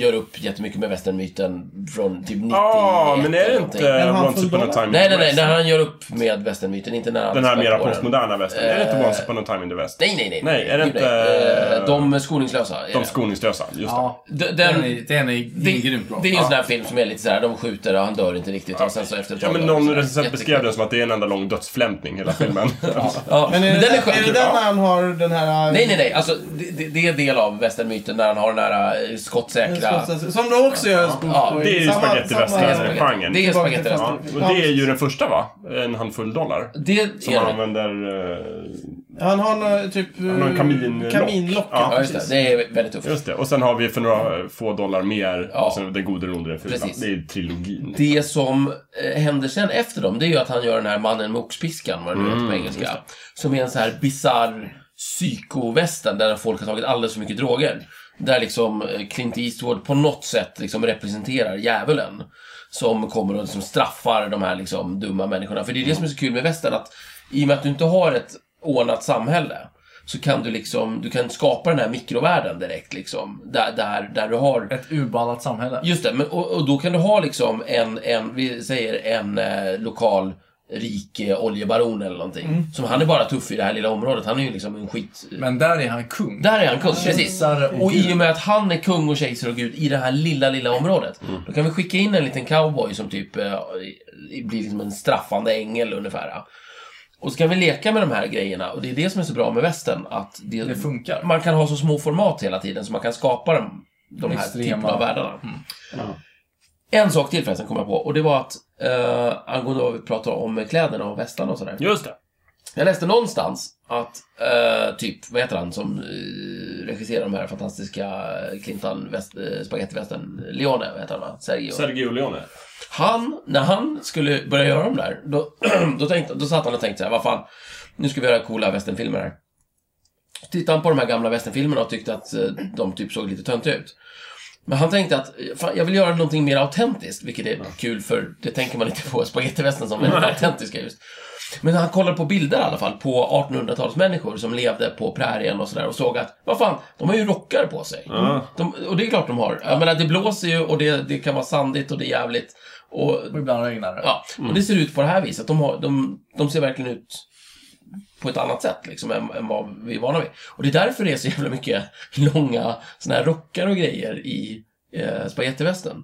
Speaker 3: gör upp jättemycket med västernmyten från typ 90
Speaker 4: Ja, Ah, men är det inte
Speaker 1: handfull
Speaker 4: Once upon a
Speaker 1: dollar?
Speaker 4: time in
Speaker 3: Nej,
Speaker 4: the
Speaker 3: nej, nej,
Speaker 4: West?
Speaker 3: när han gör upp med västernmyten, inte när han
Speaker 4: Den här
Speaker 3: spär
Speaker 4: mera
Speaker 3: på den.
Speaker 4: postmoderna västen. Är det inte Once upon a time in the West?
Speaker 3: Nej, nej, nej.
Speaker 4: Nej, är det
Speaker 3: Gud,
Speaker 4: inte-
Speaker 3: nej. Eh, De skoningslösa. är
Speaker 4: De
Speaker 3: det.
Speaker 4: skoningslösa, just det.
Speaker 2: Ja,
Speaker 3: D- den-
Speaker 2: den är, den är
Speaker 3: Det,
Speaker 2: grymt bra.
Speaker 3: det är ju en sån här film som är lite sådär, de skjuter och han dör inte riktigt och sen så efter ett
Speaker 4: Ja,
Speaker 3: tag
Speaker 4: men
Speaker 3: dör han
Speaker 4: någon
Speaker 3: sådär.
Speaker 4: recensent beskrev den som att det är en enda lång dödsflämtning, hela filmen.
Speaker 3: Ja,
Speaker 1: Men
Speaker 3: men,
Speaker 1: är, det,
Speaker 3: den är
Speaker 1: är,
Speaker 3: skön.
Speaker 1: det den när han har den här...
Speaker 3: Nej, nej, nej. Alltså, det, det- det är en del av västernmyten när han har den här eh, skottsäkra...
Speaker 1: Som de också gör en spoof
Speaker 3: Ja,
Speaker 1: på.
Speaker 4: det är ju
Speaker 1: Samma-
Speaker 4: Spaghetti
Speaker 1: samma-
Speaker 4: Western. Genren.
Speaker 3: Det är
Speaker 1: Tillbaka
Speaker 3: spagetti
Speaker 1: till
Speaker 3: western.
Speaker 4: Ja, och det är ju den första, va? En handfull dollar.
Speaker 3: Det är
Speaker 4: Som man
Speaker 3: det.
Speaker 4: använder... eh,
Speaker 1: Han har någon, typ... Han
Speaker 4: har en kaminlock.
Speaker 1: Kaminlock.
Speaker 4: Ja,
Speaker 3: Ja, just det. Det är väldigt tufft.
Speaker 4: Just det. Och sen har vi för några eh, få dollar mer,
Speaker 3: Ja.
Speaker 4: och sen Den gode, den onde, den fula.
Speaker 3: Precis.
Speaker 4: Det är trilogin.
Speaker 3: Det som eh, händer sen efter dem, det är ju att han gör den här mannen med oxpiskan, vad det nu heter på engelska. Som är en så här bisarr psykovästen där folk har tagit alldeles för mycket droger. Där liksom eh, Clint Eastwood på något sätt liksom representerar djävulen. Som kommer och liksom straffar de här liksom dumma människorna. För det är det som är så kul med västern, att i och med att du inte har ett ordnat samhälle så kan du liksom, du kan skapa den här mikrovärlden direkt liksom. Där, där, där du har
Speaker 2: Ett urballat samhälle.
Speaker 3: Just det, men, och, och då kan du ha liksom en, en vi säger en eh, lokal rik eh, oljebaron eller någonting. Som han är bara tuff i det här lilla området. Han är ju liksom en skit...
Speaker 2: Men där är han kung.
Speaker 3: Där är han kung, precis.
Speaker 2: Kejsare och
Speaker 3: Och i
Speaker 2: gud.
Speaker 3: och med att han är kung och kejsare och gud i det här lilla, lilla
Speaker 2: Mm.
Speaker 3: området. Då kan vi skicka in en liten cowboy som typ eh, blir liksom en straffande ängel ungefär. ja. Och så kan vi leka med de här grejerna och det är det som är så bra med västern. Att det,
Speaker 2: Det funkar.
Speaker 3: Man kan ha så små format hela tiden så man kan skapa de, de här
Speaker 2: Extrema. Mm.
Speaker 3: typerna av världarna. En sak till förresten kom jag på och det var att eh, angående vad vi pratade om med kläderna och västarna och sådär.
Speaker 4: Just det.
Speaker 3: Jag läste någonstans att eh, typ, vad heter han som eh, regisserar de här fantastiska Clintan väst, eh, spagettivästen, Leone vad heter han va? Sergio.
Speaker 4: Sergio Leone.
Speaker 3: Han, när han skulle börja göra de där, då, då, tänkte, då satt han och tänkte så här, vad fan, nu ska vi göra coola västernfilmer här. Så tittade han på de här gamla västernfilmerna och tyckte att eh, de typ såg lite töntiga ut. Men han tänkte att, eh, fan, jag vill göra någonting mer autentiskt, vilket är kul för det tänker man inte på spagettivästern som väldigt autentiska just. Men han kollade på bilder i alla fall på 1800-talsmänniskor som levde på prärien och sådär och såg att, vad fan, de har ju rockar på sig. De, och det är klart de har. Jag menar, det blåser ju och det, det kan vara sandigt och det är jävligt. Och,
Speaker 2: Och ibland regnar det.
Speaker 3: ja, och det ser ut på det här viset. De, har, de, de ser verkligen ut på ett annat sätt liksom, än, än vad vi är vana vid. Och det är därför det är så jävla mycket långa såna här rockar och grejer i eh, spagettivästen.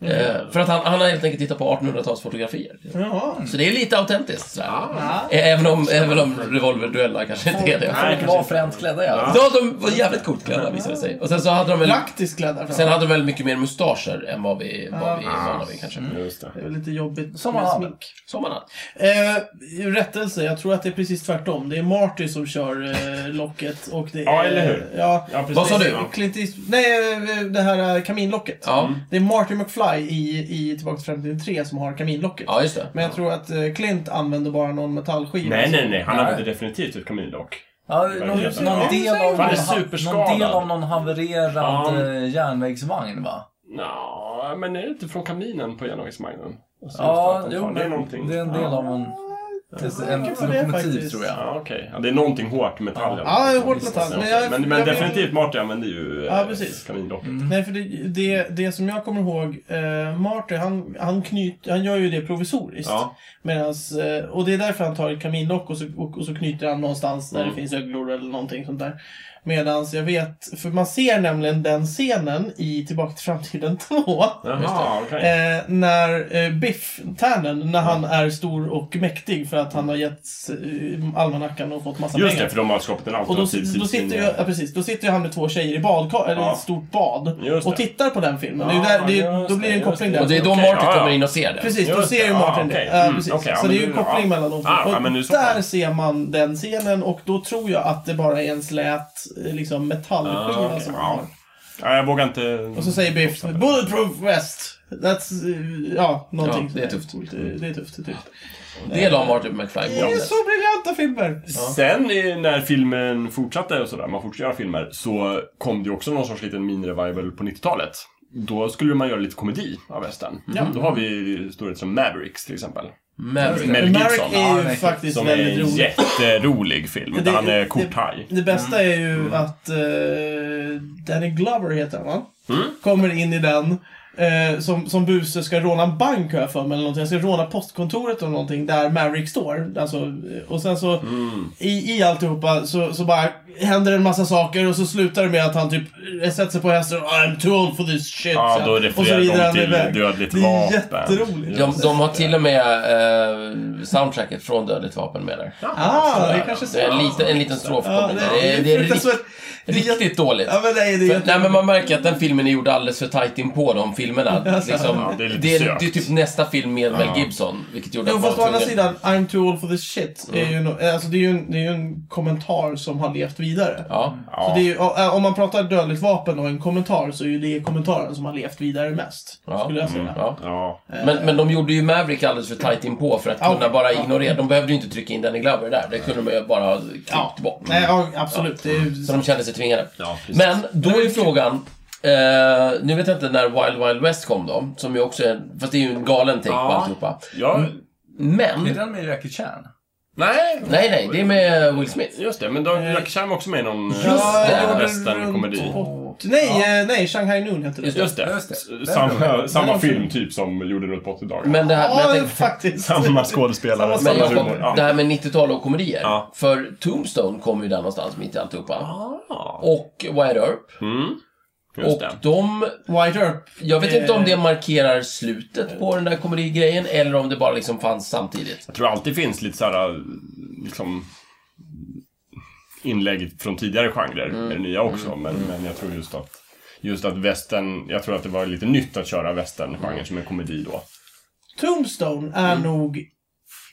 Speaker 3: Eh, för att han, han har helt enkelt tittat på 1800-talsfotografier.
Speaker 1: Jaha.
Speaker 3: Så det är lite autentiskt. sådär. Eh, Även om, även om revolverduellar kanske inte är det.
Speaker 4: Nej,
Speaker 2: Folk var fränt klädda i alla fall.
Speaker 3: Ja, de var jävligt coolt klädda visade det sig. Och sen så hade de väl...
Speaker 1: Praktiskt klädda.
Speaker 3: Sen hade de väl mycket mer mustascher än vad vi, vad vi är vana vid kanske.
Speaker 4: Just det.
Speaker 1: Det är väl lite jobbigt
Speaker 2: Som
Speaker 1: med
Speaker 2: han
Speaker 1: smink.
Speaker 3: Som man hade.
Speaker 1: Eh, rättelse, jag tror att det är precis tvärtom. Det är Marty som kör eh, locket och det är...
Speaker 4: Ja, eller hur?
Speaker 1: Ja.
Speaker 4: Ja, precis.
Speaker 3: Vad sa du?
Speaker 4: Ja.
Speaker 1: Clint Eastwood, nej, eh, det här eh, kaminlocket.
Speaker 3: Ja.
Speaker 1: Det är Marty McFly i, i Tillbaka till framtiden 3 som har kaminlocket.
Speaker 3: ja, just det.
Speaker 1: Men jag tror att eh, Clint använder bara någon metallskiva.
Speaker 4: Nej, nej, nej. Han
Speaker 2: Nej.
Speaker 4: använde definitivt ett kaminlock.
Speaker 2: Ja, någon, någon,
Speaker 4: Verkligen.
Speaker 2: del av,
Speaker 4: Han är
Speaker 2: någon ha-
Speaker 4: superskadad.
Speaker 2: någon del av någon havererad
Speaker 4: Ja.
Speaker 2: eh, järnvägsvagn va?
Speaker 4: Nå, men är det inte från kaminen på järnvägsvagnen? Och så just
Speaker 2: Ja,
Speaker 4: att den
Speaker 2: jo,
Speaker 4: tar-
Speaker 2: men det är,
Speaker 4: någonting.
Speaker 2: en del av en, en,
Speaker 1: tänker på det
Speaker 2: lokomotiv
Speaker 1: faktiskt.
Speaker 2: tror jag.
Speaker 4: Ja, okej. Ja, det är någonting hårt metall.
Speaker 1: Ja, det är hårt metall. Men, jag,
Speaker 4: men, men
Speaker 1: jag vet-
Speaker 4: definitivt Martin använder ju eh,
Speaker 1: Ja, precis. Mm,
Speaker 4: kaninlocket.
Speaker 1: Nej, för det, det, det som jag kommer ihåg, eh, Marty, han, han, knyt, han gör ju det provisoriskt.
Speaker 4: Ja.
Speaker 1: Medans, eh,
Speaker 4: Mm.
Speaker 1: och det är därför han tar ett kaminlock och så, och, och så knyter han någonstans där det finns öglor eller någonting sånt där. Medan jag vet, för man ser nämligen den scenen i Tillbaka till framtiden 2.
Speaker 4: Jaha, okej.
Speaker 1: Eh, när eh, Biff Tannen, när han är stor och mäktig för att han har gett eh, almanackan och fått massa
Speaker 4: Just
Speaker 1: pengar.
Speaker 4: det, för de har skapat en
Speaker 1: Och då,
Speaker 4: alternativ
Speaker 1: då, sitter ju, ja, precis, då sitter ju han med två tjejer i badkar, eller i
Speaker 4: Ja.
Speaker 1: ett stort bad
Speaker 4: Just
Speaker 1: och
Speaker 4: det.
Speaker 1: tittar på den filmen. det är
Speaker 4: Ja,
Speaker 1: ju där, det är,
Speaker 4: just
Speaker 1: då blir det en
Speaker 4: det,
Speaker 1: koppling
Speaker 4: just
Speaker 1: där.
Speaker 3: Och det är då
Speaker 4: Okej,
Speaker 3: Martin
Speaker 4: ja, ja.
Speaker 3: kommer in och ser det.
Speaker 1: Precis, då
Speaker 4: Just
Speaker 1: ser
Speaker 4: det.
Speaker 1: ju Martin
Speaker 4: Ah,
Speaker 1: det.
Speaker 4: okej.
Speaker 1: Ja,
Speaker 4: Mm,
Speaker 1: precis.
Speaker 4: okej, ja,
Speaker 1: så det är
Speaker 4: men
Speaker 1: ju en
Speaker 4: nu-
Speaker 1: koppling
Speaker 4: ja.
Speaker 1: mellan dem.
Speaker 4: Ah,
Speaker 1: och
Speaker 4: ja, men nu så
Speaker 1: där
Speaker 4: fall.
Speaker 1: ser man den scenen och då tror jag att det bara är en slät eh, liksom, metallskiva
Speaker 4: Ah, okej,
Speaker 1: som
Speaker 4: ja.
Speaker 1: han har.
Speaker 4: Nej, jag vågar inte...
Speaker 1: Och så säger Biff Bulletproof West. That's, eh, ja, någonting.
Speaker 3: Ja, det är
Speaker 1: sådär.
Speaker 3: tufft.
Speaker 1: Det, det är tufft, det är tufft.
Speaker 3: Det la Martin McFly
Speaker 1: Det
Speaker 3: på.
Speaker 1: är så briljanta filmer!
Speaker 4: Sen eh, när filmen fortsatte och sådär, man fortsatte göra filmer, så kom det ju också någon sorts liten mini-revival på 90-talet. Då skulle man göra lite komedi av västern.
Speaker 1: Ja.
Speaker 4: Då har vi storhet som Mavericks till exempel.
Speaker 3: Men,
Speaker 4: Mel
Speaker 1: Merrick
Speaker 4: Gibson.
Speaker 1: är
Speaker 2: Ja,
Speaker 1: ju
Speaker 2: verkligen.
Speaker 1: faktiskt
Speaker 4: Som är
Speaker 1: väldigt
Speaker 4: en
Speaker 1: rolig.
Speaker 4: jätterolig film.
Speaker 1: Det-
Speaker 4: Där han är
Speaker 1: det-
Speaker 4: korthaj.
Speaker 1: Det bästa
Speaker 4: Mm.
Speaker 1: är ju att eh, Danny Glover heter han va?
Speaker 4: Mm.
Speaker 1: Kommer in i den. eh, som, som Buse ska råna en bank har jag för mig, eller någonting. Jag ska råna postkontoret eller någonting där Maverick står. Alltså, eh, och sen så
Speaker 4: Mm.
Speaker 1: i, i alltihopa så, så bara händer en massa saker och så slutar det med att han typ eh, sätter sig på hästen och I'm too old for this shit.
Speaker 4: Ja, då
Speaker 1: Och så
Speaker 4: refererar
Speaker 1: rider
Speaker 4: de
Speaker 1: han
Speaker 4: till
Speaker 1: iväg.
Speaker 4: Dödligt
Speaker 1: Det är
Speaker 4: vapen.
Speaker 1: jätteroligt.
Speaker 3: de, de har till och med eh, soundtracket från Dödligt vapen med där.
Speaker 1: Ah, det kanske
Speaker 3: Det är en liten, en liten strof kommer där. Det är, det är
Speaker 1: fruktansvärt-
Speaker 3: rikt- riktigt dåligt.
Speaker 1: Ja, men nej, det är
Speaker 3: För, nej, men
Speaker 1: jätteroligt.
Speaker 3: man märker att den filmen är gjord alldeles för tajt in på de filmerna.
Speaker 1: Alltså,
Speaker 3: Liksom,
Speaker 4: ja, det
Speaker 3: det, är
Speaker 4: är lite
Speaker 3: det, är
Speaker 4: sökt.
Speaker 3: typ nästa film med Mel Gibson, vilket gjorde
Speaker 1: Jo,
Speaker 3: att man
Speaker 1: fast å andra
Speaker 3: tvungen-
Speaker 1: sidan, I'm too old for this shit.
Speaker 3: Mm.
Speaker 1: Är ju en, alltså, det, är ju en, det är ju en kommentar som har levt vidare.
Speaker 3: Ja.
Speaker 4: Ja.
Speaker 1: Så det är ju, o- om man pratar dödligt vapen och en kommentar så är ju det kommentaren som har levt vidare mest.
Speaker 3: Ja. Mm.
Speaker 1: Skulle jag säga.
Speaker 3: Ja.
Speaker 4: Ja.
Speaker 3: Men, men de gjorde ju Maverick alldeles för tajt in på för att
Speaker 1: Ja.
Speaker 3: kunna bara ignorera. De behövde ju inte trycka in Danny Glover där. Det kunde de ju bara ha klippt
Speaker 1: Ja.
Speaker 3: bort.
Speaker 1: Nej, ja, absolut. Det är ju...
Speaker 3: Så de kände sig tvingade.
Speaker 4: Ja, precis.
Speaker 3: men då är ju frågan... Eh, nu vet jag inte när Wild Wild West kom då, som ju också är... Fast det är ju en galen take på
Speaker 2: Ja.
Speaker 3: alltihopa.
Speaker 4: Ja,
Speaker 2: Det är
Speaker 3: Men...
Speaker 2: den med Jackie Chan.
Speaker 4: nej.
Speaker 3: Nej, nej, det är med Will Smith.
Speaker 4: Just det, men då Jackie Chan var också med i någon eh,
Speaker 1: Ja,
Speaker 3: det.
Speaker 1: gjorde
Speaker 4: westernkomedi.
Speaker 1: runt åt- Nej, eh, nej, Shanghai Noon hette det.
Speaker 3: Just
Speaker 4: Just det.
Speaker 2: Just det.
Speaker 4: S-
Speaker 2: Den var
Speaker 4: Samma,
Speaker 2: det.
Speaker 4: samma
Speaker 1: Den var
Speaker 4: film typ som gjorde runt 80 dagar.
Speaker 3: Men det här... men jag
Speaker 1: Ja,
Speaker 3: tänkte-
Speaker 1: faktiskt.
Speaker 4: Samma skådespelare,
Speaker 1: Samma
Speaker 4: samma,
Speaker 3: Men jag
Speaker 4: humor.
Speaker 3: kom, det här med 90-tal och komedier.
Speaker 4: Ja.
Speaker 3: För Tombstone kom ju där någonstans mitt i alltihopa.
Speaker 4: Ja.
Speaker 3: Och Wide Earp.
Speaker 4: Mm. Just
Speaker 3: Och
Speaker 4: det.
Speaker 3: de...
Speaker 1: White Earp.
Speaker 3: Jag vet inte om det
Speaker 1: Eh.
Speaker 3: markerar slutet på den där komedigrejen eller om det bara liksom fanns samtidigt.
Speaker 4: Jag tror alltid finns lite såhär, liksom inlägg från tidigare genrer med det nya också. Men, men jag tror just att Just att västern, jag tror att det var lite nytt att köra västerngenren som en komedi då.
Speaker 1: Tombstone är
Speaker 3: Mm.
Speaker 1: nog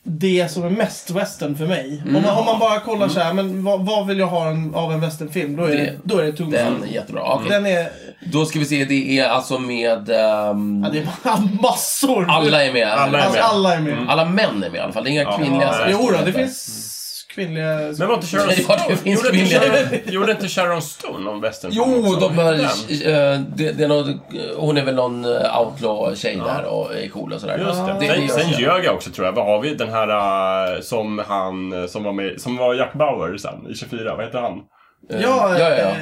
Speaker 1: det som är mest western för mig.
Speaker 3: Mm.
Speaker 1: Om, man, om man bara kollar så här, men vad, vad vill jag ha en, av en westernfilm? Då är det,
Speaker 3: Det-
Speaker 1: då är det Tombstone.
Speaker 3: Den är jättebra. Okej.
Speaker 1: Den är...
Speaker 3: Då ska vi se, det är alltså med... ehm,
Speaker 1: Ja, det är bara massor!
Speaker 3: alla är med.
Speaker 4: Alla är
Speaker 1: alltså,
Speaker 4: med.
Speaker 1: alla är med.
Speaker 3: Alla män är med i alla fall. Det är inga kvinnliga som
Speaker 1: Jo då,
Speaker 3: står
Speaker 1: det
Speaker 3: där.
Speaker 1: finns kvinnliga...
Speaker 4: Men var inte Sharon
Speaker 3: Ja, det
Speaker 4: Stone?
Speaker 3: finns
Speaker 4: Gjorde inte
Speaker 3: kvinnliga.
Speaker 4: Sharon, gjorde inte Sharon Stone någon västernfilm
Speaker 3: Jo,
Speaker 4: också?
Speaker 3: de
Speaker 4: Vad
Speaker 3: har,
Speaker 4: heter den?
Speaker 3: eh, det, det är någon, hon är väl någon eh, outlaw-tjej där och är cool och sådär.
Speaker 4: Just det.
Speaker 3: det,
Speaker 4: sen,
Speaker 3: gör
Speaker 4: sen
Speaker 3: jag.
Speaker 4: ljög jag också tror jag. Vad har vi? Den här eh, som han, eh, som var med, som var Jack Bauer sen i 24. Vad heter han?
Speaker 1: Ja,
Speaker 3: Ja, ja, ja.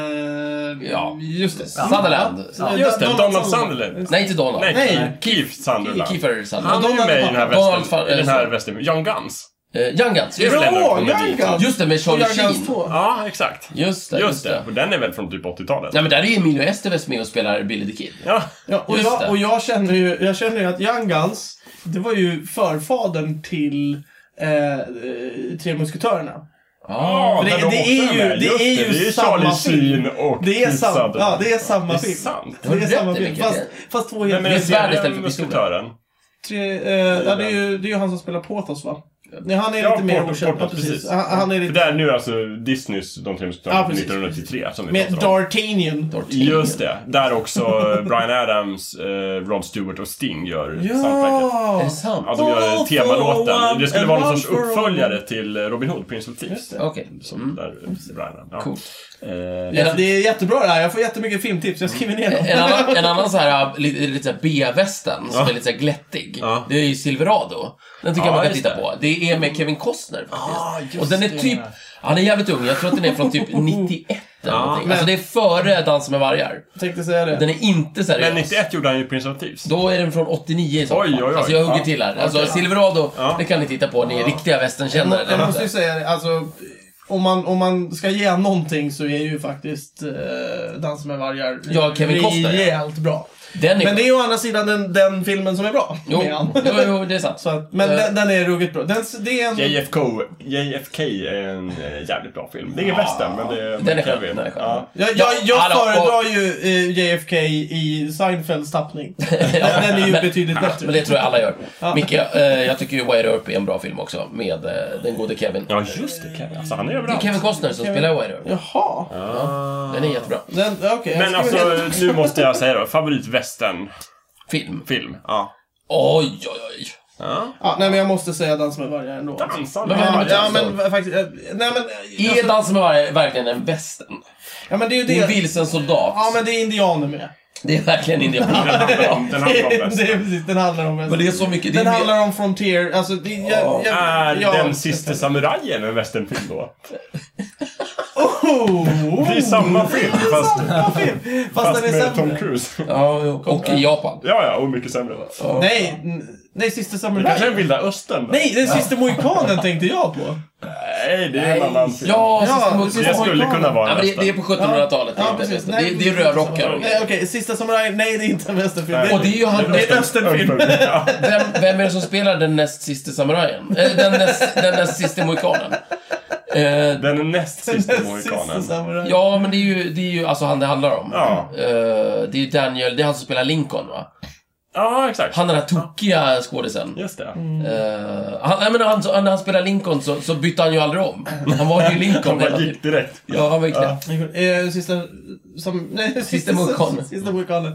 Speaker 1: eh,
Speaker 3: Ja.
Speaker 1: Just det.
Speaker 3: Sutherland.
Speaker 1: Ja,
Speaker 4: Just det,
Speaker 1: Donald
Speaker 4: Donald
Speaker 1: Sutherland.
Speaker 4: Sutherland.
Speaker 3: Nej, inte Donald.
Speaker 4: Nej,
Speaker 1: Nej.
Speaker 4: Keith Sutherland.
Speaker 3: Kiefer Sutherland.
Speaker 4: Han är ju med i den här
Speaker 3: Donald
Speaker 4: västern,
Speaker 3: Fa-
Speaker 4: i den här västern, Young Guns.
Speaker 3: Eh, Young Guns.
Speaker 4: Just
Speaker 3: Just, det.
Speaker 4: det.
Speaker 1: Ja,
Speaker 4: Sutherland kommer dit.
Speaker 1: Young
Speaker 3: just det, med Charlie Sheen.
Speaker 1: Guns.
Speaker 4: Ja, exakt.
Speaker 3: Just det.
Speaker 4: Just det, och den är väl från typ 80-talet?
Speaker 3: Nej, men där är ju Emilio Estevez med och spelar Billy the Kid.
Speaker 4: Ja.
Speaker 1: Ja, och,
Speaker 3: Just
Speaker 1: jag,
Speaker 3: det.
Speaker 1: och jag känner ju jag känner ju att Young Guns, det var ju förfadern till eh, eh, Tre Musketörerna.
Speaker 4: Ja,
Speaker 1: det-
Speaker 4: där de
Speaker 1: det
Speaker 4: också
Speaker 1: är ju-
Speaker 4: med.
Speaker 1: det
Speaker 4: Just
Speaker 1: är ju
Speaker 4: det är
Speaker 1: samma
Speaker 4: Charlie
Speaker 1: film.
Speaker 4: Sheen och
Speaker 1: Det är,
Speaker 4: Keith
Speaker 1: sam,
Speaker 4: Sutherland.
Speaker 1: ja, det är samma
Speaker 4: Det är
Speaker 1: film.
Speaker 4: sant.
Speaker 1: Det
Speaker 3: Har du
Speaker 1: är
Speaker 3: rätt
Speaker 1: samma
Speaker 3: i,
Speaker 1: film.
Speaker 3: Micke?
Speaker 1: Fast, fast två helt...
Speaker 4: Vem är
Speaker 3: Det är
Speaker 4: det
Speaker 3: svärd istället för
Speaker 4: tredje
Speaker 3: pistoler.
Speaker 4: musketören?
Speaker 1: Tre, eh, ja, det, är ju, det är ju han som spelar Porthos va? Nej, han är
Speaker 4: Ja,
Speaker 1: lite mer
Speaker 4: Porthos,
Speaker 1: okänd. Ja,
Speaker 4: Porthos,
Speaker 1: precis.
Speaker 4: precis.
Speaker 1: Han, han är
Speaker 4: För
Speaker 1: lite...
Speaker 4: det är nu alltså Disneys De tre musketörerna
Speaker 1: Ja,
Speaker 4: från
Speaker 1: precis.
Speaker 4: 1993 som vi
Speaker 1: Med
Speaker 4: pratar om.
Speaker 1: D'Artagnan.
Speaker 3: Dorothy.
Speaker 4: Just det. Där också eh, Bryan Adams, eh, Rod Stewart och Sting gör soundtracket.
Speaker 3: Är det
Speaker 1: Ja!
Speaker 3: sant?
Speaker 4: Ja, de gör
Speaker 1: All for
Speaker 4: temalåten.
Speaker 1: one
Speaker 4: Det skulle
Speaker 1: and
Speaker 4: vara
Speaker 1: one
Speaker 4: någon sorts
Speaker 1: for all.
Speaker 4: uppföljare till eh, Robin Hood, Prince of Thieves.
Speaker 3: Okej.
Speaker 4: Som där eh, Bryan Adams. Ja.
Speaker 3: Coolt.
Speaker 4: Eh,
Speaker 1: Ja, det är jättebra det här. Jag får jättemycket filmtips. Jag skriver ner dem.
Speaker 3: En annan, en annan så här, äh, lite, lite så här B-västen som
Speaker 4: Ja.
Speaker 3: är lite så här glättig.
Speaker 4: Ja.
Speaker 3: Det är ju Silverado. Den
Speaker 4: Ja,
Speaker 3: tycker jag man kan
Speaker 4: just
Speaker 3: titta
Speaker 4: det.
Speaker 3: på. Det är med Kevin Costner faktiskt.
Speaker 4: Ah, just
Speaker 3: och den är
Speaker 4: det.
Speaker 3: typ, han är jävligt ung. Jag tror att den är från typ 91 eller någonting. Alltså det är före Dansa med vargar.
Speaker 1: Tänkte säga det.
Speaker 3: Den är inte seriös.
Speaker 4: Men 91 gjorde han ju Prince of Thieves.
Speaker 3: Då är den från 89 i så
Speaker 4: Oj,
Speaker 3: fall.
Speaker 4: oj, oj.
Speaker 3: Alltså jag hugger
Speaker 4: Ja.
Speaker 3: till här. Alltså Silverado, det kan ni titta på, ni är riktiga
Speaker 1: Jag må-
Speaker 3: västernkännare.
Speaker 1: Jag måste ju säga det, alltså... om man, om man ska ge någonting så är ju faktiskt eh, Dansen med vargar
Speaker 3: Ja, Kevin Costner, ja.
Speaker 1: rejält bra.
Speaker 3: Den är
Speaker 1: Men det är ju å andra sidan den, den filmen som är bra.
Speaker 3: Jo,
Speaker 1: menar han.
Speaker 3: jo, jo, det är sant.
Speaker 1: Så att, men
Speaker 3: Eh.
Speaker 1: den, den är ruggigt bra. Den, det är en...
Speaker 4: JFK, JFK är en eh, jävligt bra film. Det är ingen western, men det är...
Speaker 3: Den är skön,
Speaker 4: Kevin.
Speaker 3: den är skön.
Speaker 4: Ja.
Speaker 1: Jag, jag, jag
Speaker 3: Hallå,
Speaker 1: föredrar ju eh, JFK i Seinfelds tappning.
Speaker 3: Ja,
Speaker 1: Den, den är ju
Speaker 3: men-
Speaker 1: betydligt bättre.
Speaker 3: Men det tror jag alla gör.
Speaker 1: Ja.
Speaker 3: Micke, eh, jag tycker ju Wire Earp är en bra film också, med eh, den gode Kevin.
Speaker 4: ja, just det. Kevin. Alltså, han är
Speaker 3: Det är
Speaker 4: överallt.
Speaker 3: Kevin Costner som
Speaker 1: Kevin-
Speaker 3: spelar Wire Earp.
Speaker 1: Jaha.
Speaker 4: Ah.
Speaker 3: Den är jättebra.
Speaker 1: Den, okej, jag
Speaker 4: Men
Speaker 1: skriver
Speaker 4: alltså,
Speaker 1: ner.
Speaker 4: nu måste jag säga då. Favoritvästernfilm.
Speaker 3: Film.
Speaker 4: Ja.
Speaker 3: Oj, oj, oj.
Speaker 4: ja.
Speaker 1: Ja, nej men jag måste säga Dans med vargar ändå. alltså.
Speaker 4: Dansar
Speaker 3: Vad
Speaker 4: med
Speaker 3: händer
Speaker 1: Ja, ja
Speaker 3: med Jackson?
Speaker 1: men va- faktiskt. eh, Nej men. eh,
Speaker 3: Är
Speaker 1: Alltså,
Speaker 3: Dansen med vargar verkligen en western?
Speaker 1: ja men det är ju
Speaker 3: Det är en
Speaker 1: det.
Speaker 3: vilsen soldat.
Speaker 1: Ja men det är indianer med.
Speaker 3: Det är verkligen inte
Speaker 4: Den handlar om, den handlar om
Speaker 1: det är
Speaker 4: västern.
Speaker 1: precis, den handlar om
Speaker 3: Men det är så mycket. Det är
Speaker 1: Den
Speaker 3: mer-
Speaker 1: handlar om Frontier. Alltså det är... Jag,
Speaker 4: Är
Speaker 1: jag, jag,
Speaker 4: Den siste samurajen en westernfilm då?
Speaker 1: Oh!
Speaker 4: Det är samma film, fast,
Speaker 1: Samma film! Fast,
Speaker 4: fast
Speaker 1: den är
Speaker 4: med Tom
Speaker 1: sämre.
Speaker 4: Cruise.
Speaker 3: Ja, jo. och i Japan.
Speaker 4: Ja, ja, och mycket sämre.
Speaker 1: Nej, n- nej, Sista
Speaker 4: Kanske
Speaker 1: Samurai.
Speaker 4: en Vilda Östern? då?
Speaker 1: Nej, den sista mohikanen tänkte jag på.
Speaker 4: Nej, det är en annan film.
Speaker 3: Ja,
Speaker 1: Ja,
Speaker 3: ja
Speaker 1: det
Speaker 4: Det
Speaker 1: är-
Speaker 4: skulle kunna vara
Speaker 3: Ja,
Speaker 4: en
Speaker 3: men det, det är
Speaker 4: western.
Speaker 3: på 1700-talet. det är
Speaker 1: Ja,
Speaker 3: inte en
Speaker 1: precis.
Speaker 3: western.
Speaker 1: Nej,
Speaker 3: det, det är rörrockare.
Speaker 1: Nej, okej. Sista Samurai. Nej, det är inte en västerfilm.
Speaker 4: Nej.
Speaker 3: Och det är ju han...
Speaker 1: Det är en östernfilm.
Speaker 4: Ja.
Speaker 3: Vem, vem är det som spelar den näst sista samurajen? Eh, Den näst, den näst sista mohikanen. Eh,
Speaker 4: Den näst
Speaker 1: Den
Speaker 4: sista
Speaker 1: sista
Speaker 4: mohikanen.
Speaker 1: Samurai.
Speaker 3: Ja, men det är ju, det är ju alltså han det handlar om.
Speaker 4: Ja.
Speaker 3: Eh, det är ju Daniel, det är han som spelar Lincoln va?
Speaker 4: Ja, exakt.
Speaker 3: Han den här tokiga skådisen.
Speaker 4: Just det.
Speaker 1: Mm.
Speaker 3: Eh, han, jag menar, han, så- när han spelade Lincoln så, så bytte han ju aldrig om. Han var ju
Speaker 4: Han
Speaker 3: Lincoln hela
Speaker 4: bara
Speaker 3: tiden.
Speaker 4: gick direkt.
Speaker 3: Ja, han var ju knäpp.
Speaker 1: Eh, Sista... Sam, nej, sista,
Speaker 3: mohikanen.
Speaker 1: Sista mohikanen.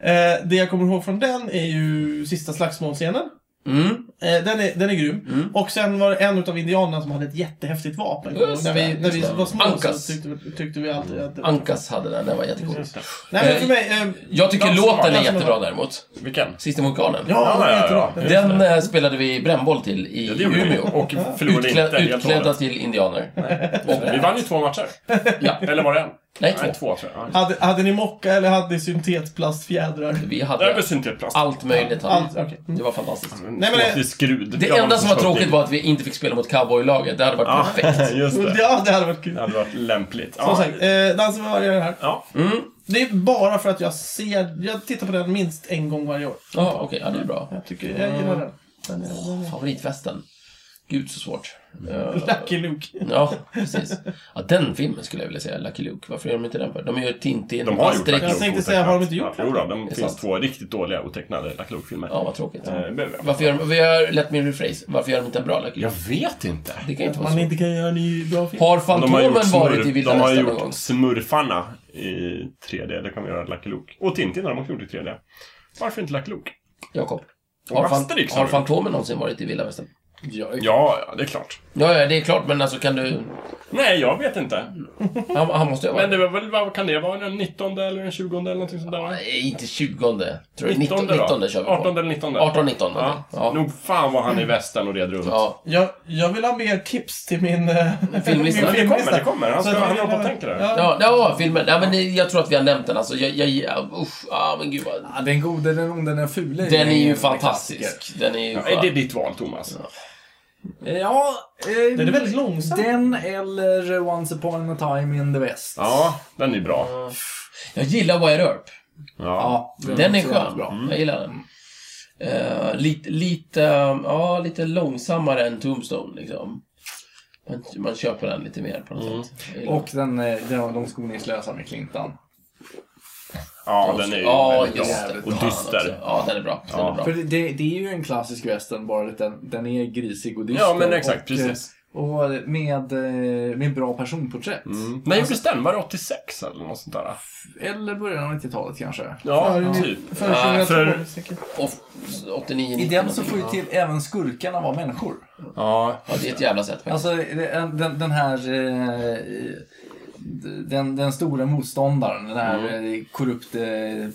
Speaker 1: Eh, det jag kommer ihåg från den är ju sista slagsmålscenen.
Speaker 3: Mm.
Speaker 1: Eh, den, är, den är grym. Och sen var det en utav indianerna som hade ett jättehäftigt vapen.
Speaker 3: Just
Speaker 1: när vi,
Speaker 3: det,
Speaker 1: när vi
Speaker 3: just det.
Speaker 1: var små
Speaker 3: Ankas.
Speaker 1: så tyckte, vi- tyckte vi alltid att det var...
Speaker 3: Ankas hade den, den var jättecool.
Speaker 1: Nej, men för mig... Eh,
Speaker 3: Jag tycker
Speaker 4: Dansen var-
Speaker 3: låten är
Speaker 1: dansen var-
Speaker 3: jättebra däremot.
Speaker 4: Vilken?
Speaker 3: Sista mohikanen.
Speaker 1: ja,
Speaker 4: Ja,
Speaker 1: det
Speaker 4: ja,
Speaker 1: är jättebra.
Speaker 4: ja.
Speaker 1: Den är
Speaker 3: Den eh, spelade vi brännboll till i
Speaker 4: Ja, det gjorde vi.
Speaker 3: Umeå.
Speaker 4: Och förlorade
Speaker 3: Utklä,
Speaker 4: inte helt och
Speaker 3: utklädda
Speaker 4: hållet.
Speaker 3: till indianer.
Speaker 4: Vi vann ju två matcher.
Speaker 3: Ja.
Speaker 4: Eller var det en?
Speaker 3: Nej,
Speaker 4: Nej,
Speaker 3: två.
Speaker 4: två tror jag. Ja.
Speaker 1: Hade, hade ni mocka eller hade ni syntetplastfjädrar?
Speaker 3: Vi
Speaker 4: Det är
Speaker 3: hade
Speaker 4: väl syntetplast.
Speaker 3: allt möjligt. hade
Speaker 1: Allt,
Speaker 3: vi.
Speaker 1: okej.
Speaker 3: Det var fantastiskt.
Speaker 1: Nej, men det-
Speaker 4: Tråkig skrud.
Speaker 3: Det enda som var tråkigt var att vi inte fick spela mot cowboylaget. Det hade varit
Speaker 4: Ja,
Speaker 3: perfekt.
Speaker 4: just det.
Speaker 1: Ja, det hade varit kul.
Speaker 4: Det hade varit lämpligt.
Speaker 1: Som
Speaker 4: Ja.
Speaker 1: sagt, eh, Dansen med vargar är här.
Speaker 4: Ja.
Speaker 1: Det är bara för att jag ser... Jag tittar på den minst en gång varje år.
Speaker 3: Ja, okej. Ja, det är bra.
Speaker 1: Jag tycker... Jag gillar den. den, är, den är.
Speaker 3: Favoritfesten. Gud, så svårt. Eh,
Speaker 1: Lucky Luke.
Speaker 3: Ja, precis. Ja, den filmen skulle jag vilja säga, Lucky Luke. Varför gör de inte den för? De gör Tintin,
Speaker 4: De har gjort
Speaker 3: Asterix.
Speaker 4: Black Oak
Speaker 1: Jag tänkte säga, har de inte
Speaker 4: otecknat.
Speaker 1: gjort det?
Speaker 4: Jo då, de
Speaker 3: är
Speaker 4: finns
Speaker 3: sant.
Speaker 4: två riktigt dåliga otecknade Black Oak-filmer.
Speaker 3: Ja, vad tråkigt.
Speaker 4: Eh, behöver jag.
Speaker 3: Varför gör de... Vi gör Let Me Rephrase. Varför gör de inte en bra Lucky
Speaker 4: Jag
Speaker 3: Luke?
Speaker 4: vet inte.
Speaker 3: Det kan inte vara
Speaker 1: Man
Speaker 3: så.
Speaker 1: inte kan göra en ny bra film.
Speaker 3: Har
Speaker 4: De har
Speaker 3: Fantomen
Speaker 4: gjort,
Speaker 3: varit i
Speaker 4: smurf,
Speaker 3: Vilda
Speaker 4: de har
Speaker 3: Västern någon gång?
Speaker 4: gjort Smurfarna i 3D. Det kan vi göra Lucky Luke. Och Tintin har de också gjort i 3D. Varför inte Lucky Luke?
Speaker 3: Jakob.
Speaker 4: Och
Speaker 3: Har, fan,
Speaker 4: Asterix har
Speaker 3: har
Speaker 4: gjort.
Speaker 3: Fantomen någonsin varit i Vilda Västern?
Speaker 4: Ja, ja, det är klart.
Speaker 3: Ja, ja, det är klart, men alltså kan du...
Speaker 4: Nej, jag vet inte.
Speaker 3: Han, han måste ju ha
Speaker 4: Men
Speaker 3: varit...
Speaker 4: det var väl, vad kan det vara? Den 19 eller den 20 eller någonting sånt där? va?
Speaker 3: Nej, Eh, inte 20. Tror jag. 19,
Speaker 4: 19 då?
Speaker 3: 19 kör vi på.
Speaker 4: 18 eller 19?
Speaker 3: 18, 19.
Speaker 4: Ja.
Speaker 3: Ja.
Speaker 4: Nog fan var han i västern och red runt.
Speaker 3: ja.
Speaker 1: Jag, jag vill ha mer tips till min... eh,
Speaker 3: Filmlista.
Speaker 4: Det kommer, det kommer. Han,
Speaker 1: Så
Speaker 4: ska,
Speaker 1: att-
Speaker 4: han håller på och tänker där.
Speaker 1: Ja.
Speaker 3: Ja, ja, filmen. Ja, men det- jag tror att vi har nämnt den. Alltså, jag, jag, jag, usch, ah, men gud vad...
Speaker 2: Ja, den gode, den onde, den fule. liksom.
Speaker 3: Den är ju
Speaker 2: en
Speaker 3: fantastisk. Den är ju
Speaker 4: Är det
Speaker 3: skön.
Speaker 4: ditt val, Thomas?
Speaker 2: klassiker. Ja, eh,
Speaker 1: Den är väldigt långsam.
Speaker 2: Den eller Once upon a time in the West.
Speaker 4: Ja, den är bra.
Speaker 3: Jag gillar Wire Earp.
Speaker 4: Ja.
Speaker 2: Ja,
Speaker 3: Den är
Speaker 2: också jävligt
Speaker 3: skön.
Speaker 2: Bra.
Speaker 3: Jag gillar den. Eh, lite, lite, ja, lite långsammare än Tombstone, liksom. Man, man köper den lite mer på något
Speaker 2: Mm.
Speaker 3: sätt. Jag gillar
Speaker 2: Och den, eh, den de skoningslösa med Clintan.
Speaker 4: ja, den är ju
Speaker 3: Ja,
Speaker 4: väldigt
Speaker 3: just
Speaker 4: bra.
Speaker 3: det.
Speaker 4: Och
Speaker 3: Fan också.
Speaker 4: dyster.
Speaker 3: Ja, den är bra. Den
Speaker 4: Ja.
Speaker 3: är bra.
Speaker 2: För det, det, det är ju en klassisk western, bara att den, den är grisig och dyster.
Speaker 4: Ja, men exakt.
Speaker 2: och,
Speaker 3: eh,
Speaker 4: Precis.
Speaker 2: Och med, eh, med bra personporträtt.
Speaker 4: Mm. När gjordes den? Var det 86 eller något sånt där?
Speaker 2: Eller början av 90-talet kanske.
Speaker 4: Ja,
Speaker 1: Ja,
Speaker 4: typ.
Speaker 1: För,
Speaker 3: Ja,
Speaker 4: för-
Speaker 1: säkert.
Speaker 3: Och 89,
Speaker 2: I
Speaker 3: 90
Speaker 2: den så
Speaker 3: någonting.
Speaker 2: får ju till även skurkarna vara människor.
Speaker 4: Ja.
Speaker 3: Ja, det är ett jävla sätt faktiskt.
Speaker 2: Alltså det- den, den här... eh, Den, den stora motståndaren, den här mm. korrupte,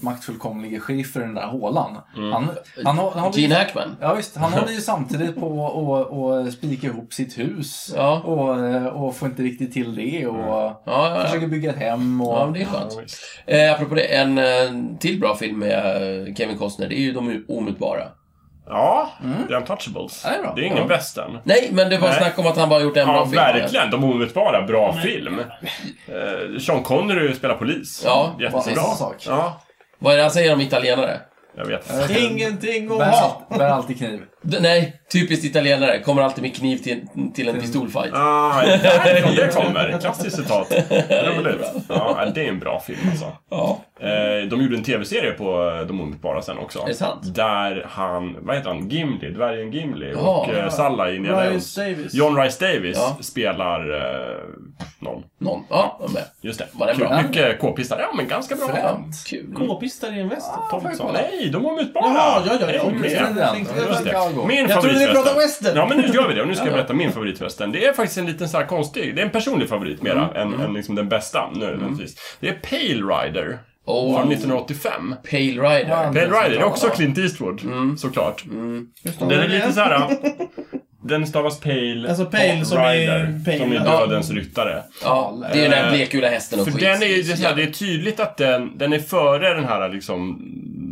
Speaker 2: maktfullkomlige sheriffen i den där hålan.
Speaker 3: Mm.
Speaker 2: Han, han, hå- han, håller
Speaker 3: Gene
Speaker 2: ju,
Speaker 3: Hackman.
Speaker 2: ja, visst, han håller ju samtidigt på och, och spika ihop sitt hus.
Speaker 3: Ja. Mm.
Speaker 2: Och, eh, och får inte riktigt till det och
Speaker 3: Ja, ja, ja.
Speaker 2: försöker bygga ett hem. Och,
Speaker 3: ja men det är skönt. Eh, apropå det, en eh, till bra film med eh, Kevin Costner, det är ju De Omutbara.
Speaker 4: Ja, The Untouchables.
Speaker 2: Ja, det är bra.
Speaker 4: ingen
Speaker 2: Ja.
Speaker 4: western.
Speaker 3: Nej, men det var
Speaker 4: Nej.
Speaker 3: snack om att han bara gjort en
Speaker 4: Ja,
Speaker 3: bra film.
Speaker 4: verkligen. De omedelbara. Bra film. Eh, Sean Connery spelar polis.
Speaker 3: Ja,
Speaker 4: Jättebra.
Speaker 2: precis. Sak.
Speaker 4: Ja,
Speaker 3: Vad är det han säger om italienare?
Speaker 4: jag vet.
Speaker 1: Eh. Ingenting att
Speaker 2: Bär,
Speaker 1: ha.
Speaker 2: all- bär alltid kniv.
Speaker 3: D- nej, typiskt italienare. Kommer alltid med kniv till, till en pistolfight.
Speaker 4: Ah, därifrån det kommer. Klassiskt citat. Roligt. Ja, det är en bra film alltså.
Speaker 3: Ja.
Speaker 4: Eh, de gjorde en tv-serie på eh, De omedelbara sen också. Är
Speaker 3: det sant?
Speaker 4: Där han, vad heter han, Gimli, dvärgen Gimli
Speaker 3: Jaha.
Speaker 4: och eh, Salla i Indiana Jones.
Speaker 1: Rice Davis.
Speaker 4: John Rice Davis
Speaker 3: Ja.
Speaker 4: spelar eh, någon.
Speaker 3: Någon. Ja, jag är med.
Speaker 4: Just det.
Speaker 3: Var den
Speaker 4: Kul.
Speaker 3: bra?
Speaker 4: Mycket k-pistar. Ja, men ganska bra.
Speaker 2: Fränt.
Speaker 3: Kul.
Speaker 1: K-pistar i en western.
Speaker 4: Thompson. Nej, De omedelbara!
Speaker 1: Jaha, ja, ja, ja.
Speaker 4: Kom
Speaker 1: Just
Speaker 4: igen.
Speaker 1: det.
Speaker 2: Den.
Speaker 4: Just det. Min
Speaker 1: Jag trodde ni
Speaker 4: favoritfesten.
Speaker 1: pratade western.
Speaker 4: Ja, men nu gör vi det. Och nu ska jag berätta min favoritfesten. Det är faktiskt en liten så här konstig, det är en personlig favorit mera
Speaker 1: Mm.
Speaker 4: än, än liksom den bästa nödvändigtvis. Det är Pale Rider.
Speaker 3: Oh.
Speaker 4: Från 1985.
Speaker 3: Pale Rider.
Speaker 2: Wow.
Speaker 4: Pale Rider, det är också
Speaker 2: Ja.
Speaker 4: Clint Eastwood,
Speaker 1: Mm.
Speaker 4: såklart.
Speaker 1: Just
Speaker 4: Den är lite
Speaker 1: igen.
Speaker 4: så här. Den stavas Pale,
Speaker 1: Alltså Pale som är
Speaker 4: Rider,
Speaker 1: Pale,
Speaker 4: som är
Speaker 1: ja.
Speaker 4: Dödens ryttare.
Speaker 3: Ja, det är ju den här
Speaker 4: Eh,
Speaker 3: blekgula hästen och
Speaker 4: För
Speaker 3: skit.
Speaker 4: den är ju det är så här, det är tydligt att den, den är före den här liksom,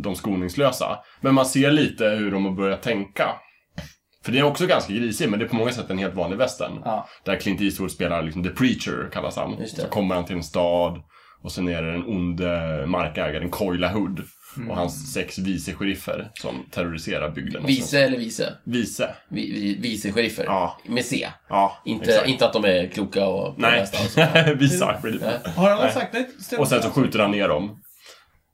Speaker 4: de skoningslösa. Men man ser lite hur de har börjat tänka. För det är också ganska grisig, men det är på många sätt en helt vanlig västern.
Speaker 2: Ja.
Speaker 4: Där Clint Eastwood spelar liksom The Preacher, kallas han.
Speaker 3: Just det.
Speaker 4: Så kommer han till en stad och sen är det den onde markägaren Koila Hood.
Speaker 3: Mm.
Speaker 4: Och hans sex vice sheriffer som terroriserar bygden. Och sen-
Speaker 3: Vice eller vice?
Speaker 4: Vice.
Speaker 3: Vi, vi, Vice-sheriffer.
Speaker 4: Ja.
Speaker 3: Med C.
Speaker 4: Ja,
Speaker 3: Inte,
Speaker 4: exakt.
Speaker 3: inte att de är kloka och
Speaker 4: Nej,
Speaker 3: pålästa och så.
Speaker 4: visa. Ja.
Speaker 1: Har alla sagt det? Stämmer.
Speaker 4: Och sen så skjuter han ner dem.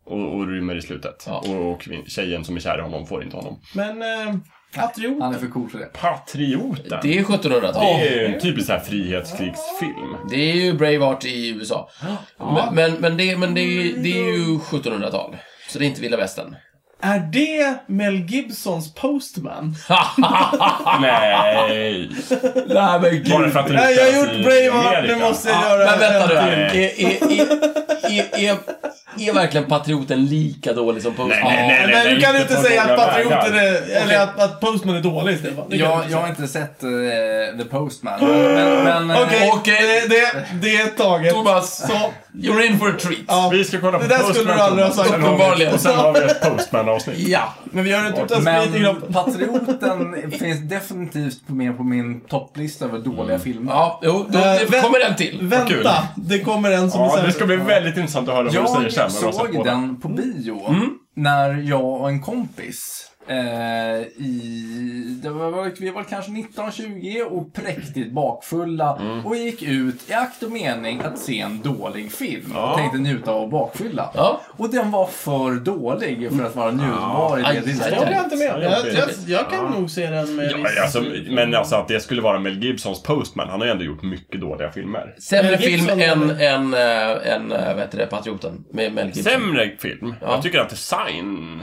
Speaker 4: Och, och rymmer i slutet.
Speaker 3: Ja.
Speaker 4: Och, och kvin- tjejen som är kär i honom får inte honom.
Speaker 1: Men... Eh, Patriot.
Speaker 2: Han är för cool för det.
Speaker 4: Patrioten! Det,
Speaker 3: Det är 1700-tal.
Speaker 4: är ju en typisk så här frihetskrigsfilm.
Speaker 3: Det är ju Braveheart i USA. Men, men, men, det, men det, är, ju- det är ju 1700-tal. Så det är inte vilda västern.
Speaker 1: Är det Mel Gibsons Postman?
Speaker 4: Nej!
Speaker 3: Nej men gud.
Speaker 4: Bara för att den
Speaker 1: Nej, jag har
Speaker 4: utspelas i
Speaker 1: gjort Braveheart, nu
Speaker 4: Amerika.
Speaker 1: måste jag
Speaker 3: Ja,
Speaker 1: göra
Speaker 3: men vänta nu här.
Speaker 1: en
Speaker 3: Är,
Speaker 1: till.
Speaker 3: är, är, är, är, är verkligen Patrioten lika dålig som Postman?
Speaker 4: Nej, nej, nej.
Speaker 1: Men du kan
Speaker 4: inte
Speaker 1: inte
Speaker 4: på
Speaker 1: säga att
Speaker 4: några
Speaker 1: Patrioten
Speaker 4: vägar.
Speaker 1: är... Eller att, att Postman är dålig, Stefan. Det kan du
Speaker 2: Jag,
Speaker 1: inte
Speaker 2: jag har
Speaker 1: säga.
Speaker 2: inte sett eh, The Postman. Men, men, eh,
Speaker 1: Okej,
Speaker 3: Okej.
Speaker 1: det, det, det är taget.
Speaker 3: Thomas,
Speaker 1: Så,
Speaker 3: you're in for a treat.
Speaker 1: ja.
Speaker 4: Vi ska kolla på
Speaker 1: Det där skulle
Speaker 4: Postman,
Speaker 1: du aldrig ha
Speaker 4: Thomas.
Speaker 1: sagt.
Speaker 4: Sen har vi-
Speaker 3: Uppenbarligen.
Speaker 4: Och sen har vi ett Postman-avsnitt.
Speaker 3: Ja.
Speaker 1: Men Alltså, vi gör typ inte utan sprit i
Speaker 2: Men
Speaker 1: kroppen.
Speaker 2: Patrioten finns definitivt med på min topplista över dåliga filmer.
Speaker 3: Ja, jo, då
Speaker 1: Eh,
Speaker 3: det
Speaker 1: vänt-
Speaker 3: kommer den till.
Speaker 4: kul.
Speaker 1: Vänta, det kommer en som
Speaker 4: Ja,
Speaker 1: är
Speaker 4: det ska
Speaker 1: sämre.
Speaker 4: bli väldigt intressant att höra vad du säger sen.
Speaker 2: Jag
Speaker 4: när du har sett
Speaker 2: såg
Speaker 4: båda.
Speaker 2: den på bio när jag och en kompis eh, i, det var, vi var kanske 19-20 och präktigt bakfulla och gick ut i akt och mening att se en dålig film och tänkte njuta av bakfylla.
Speaker 3: Ja.
Speaker 2: Och den var för dålig för att vara njutbar i
Speaker 3: Aj,
Speaker 2: det
Speaker 3: aj,
Speaker 1: Jag blir
Speaker 2: tillståndet.
Speaker 1: inte med. Jag, jag, jag kan nog se den med
Speaker 4: Ja,
Speaker 1: viss-
Speaker 4: men alltså, men alltså att det skulle vara Mel Gibsons Postman, han har ju ändå gjort mycket dåliga filmer.
Speaker 3: Sämre
Speaker 1: Mel
Speaker 3: film
Speaker 1: Gibson-
Speaker 3: än, än, äh, än äh, vad heter det, Patrioten med Mel Gibson.
Speaker 4: Sämre film? Jag tycker att det är Signs...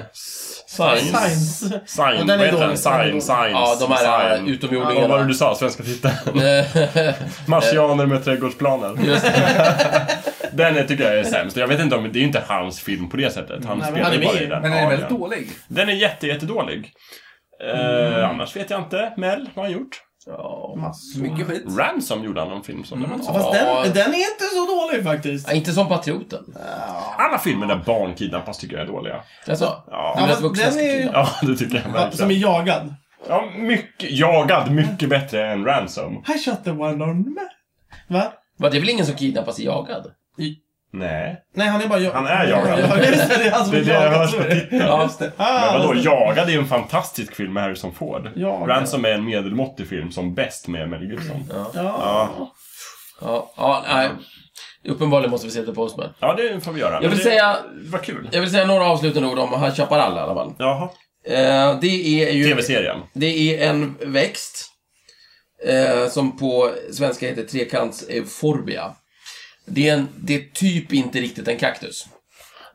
Speaker 3: Signs.
Speaker 1: Science.
Speaker 4: Sign,
Speaker 1: Ja, den är
Speaker 4: vad heter den?
Speaker 1: dålig, den är
Speaker 4: Sign,
Speaker 1: dålig.
Speaker 4: signs.
Speaker 3: Ja, de här
Speaker 4: sign.
Speaker 3: äh, utomjordingarna.
Speaker 4: Vad var det du sa? Svenska titeln? Marsianer med trädgårdsplaner.
Speaker 3: Just
Speaker 4: Den är- tycker jag är sämst. Jag vet inte om, det är ju inte hans film på det sättet. Han
Speaker 1: Nej, men
Speaker 4: spelar
Speaker 1: han är
Speaker 4: ju bara
Speaker 1: med
Speaker 4: i
Speaker 1: i
Speaker 4: den.
Speaker 2: Men den
Speaker 4: Ja,
Speaker 2: är väldigt
Speaker 4: den.
Speaker 2: dålig.
Speaker 4: Den är jätte, jättedålig. Eh, annars vet jag inte. Mel, vad har han gjort?
Speaker 2: Mycket skit.
Speaker 4: Ransom gjorde han någon film som den också.
Speaker 1: Fast
Speaker 3: Ja.
Speaker 1: den, den är inte så dålig faktiskt.
Speaker 3: Ja, inte som Patrioten.
Speaker 4: Alla filmer där barn kidnappas tycker jag är dåliga.
Speaker 3: Alltså,
Speaker 4: Ja.
Speaker 1: Ja,
Speaker 3: Den lät
Speaker 1: fast
Speaker 3: vuxna
Speaker 1: den
Speaker 3: ska
Speaker 1: är ju-
Speaker 3: kidnappa.
Speaker 4: Ja, det tycker jag
Speaker 1: Ja, som är
Speaker 4: verkligen.
Speaker 1: jagad.
Speaker 4: Ja, mycket, jagad, mycket bättre än Ransom.
Speaker 1: I shot the one on me. Va?
Speaker 3: Va, det är väl ingen som kidnappas i jagad?
Speaker 4: Nej.
Speaker 1: Nej, han är bara jagad.
Speaker 4: Han är jagad.
Speaker 1: Just det, det är han som
Speaker 4: Det
Speaker 1: är
Speaker 4: är det jag
Speaker 1: jagad.
Speaker 4: hörs
Speaker 1: så
Speaker 4: på
Speaker 1: är det.
Speaker 4: titeln.
Speaker 3: Ja.
Speaker 1: Just det. Ah,
Speaker 4: Men vadå,
Speaker 1: just det.
Speaker 4: Jagad är ju en fantastisk film med Harrison Ford.
Speaker 1: Jagad.
Speaker 4: Ransom är en medelmåttig film som bäst med Mel Gibson.
Speaker 1: Ja.
Speaker 3: Ja, ja, nej. Uppenbarligen måste vi se The Postman.
Speaker 4: Ja, det får vi göra.
Speaker 3: Jag
Speaker 4: Men
Speaker 3: vill
Speaker 4: det,
Speaker 3: säga-
Speaker 4: Vad kul.
Speaker 3: Jag vill säga några avslutande ord om High Chaparral i alla fall.
Speaker 4: Jaha.
Speaker 3: Eh, det är ju...
Speaker 4: TV-serien.
Speaker 3: Det är en växt eh, som på svenska heter trekantseuphorbia. Det är, en, det är typ inte riktigt en kaktus.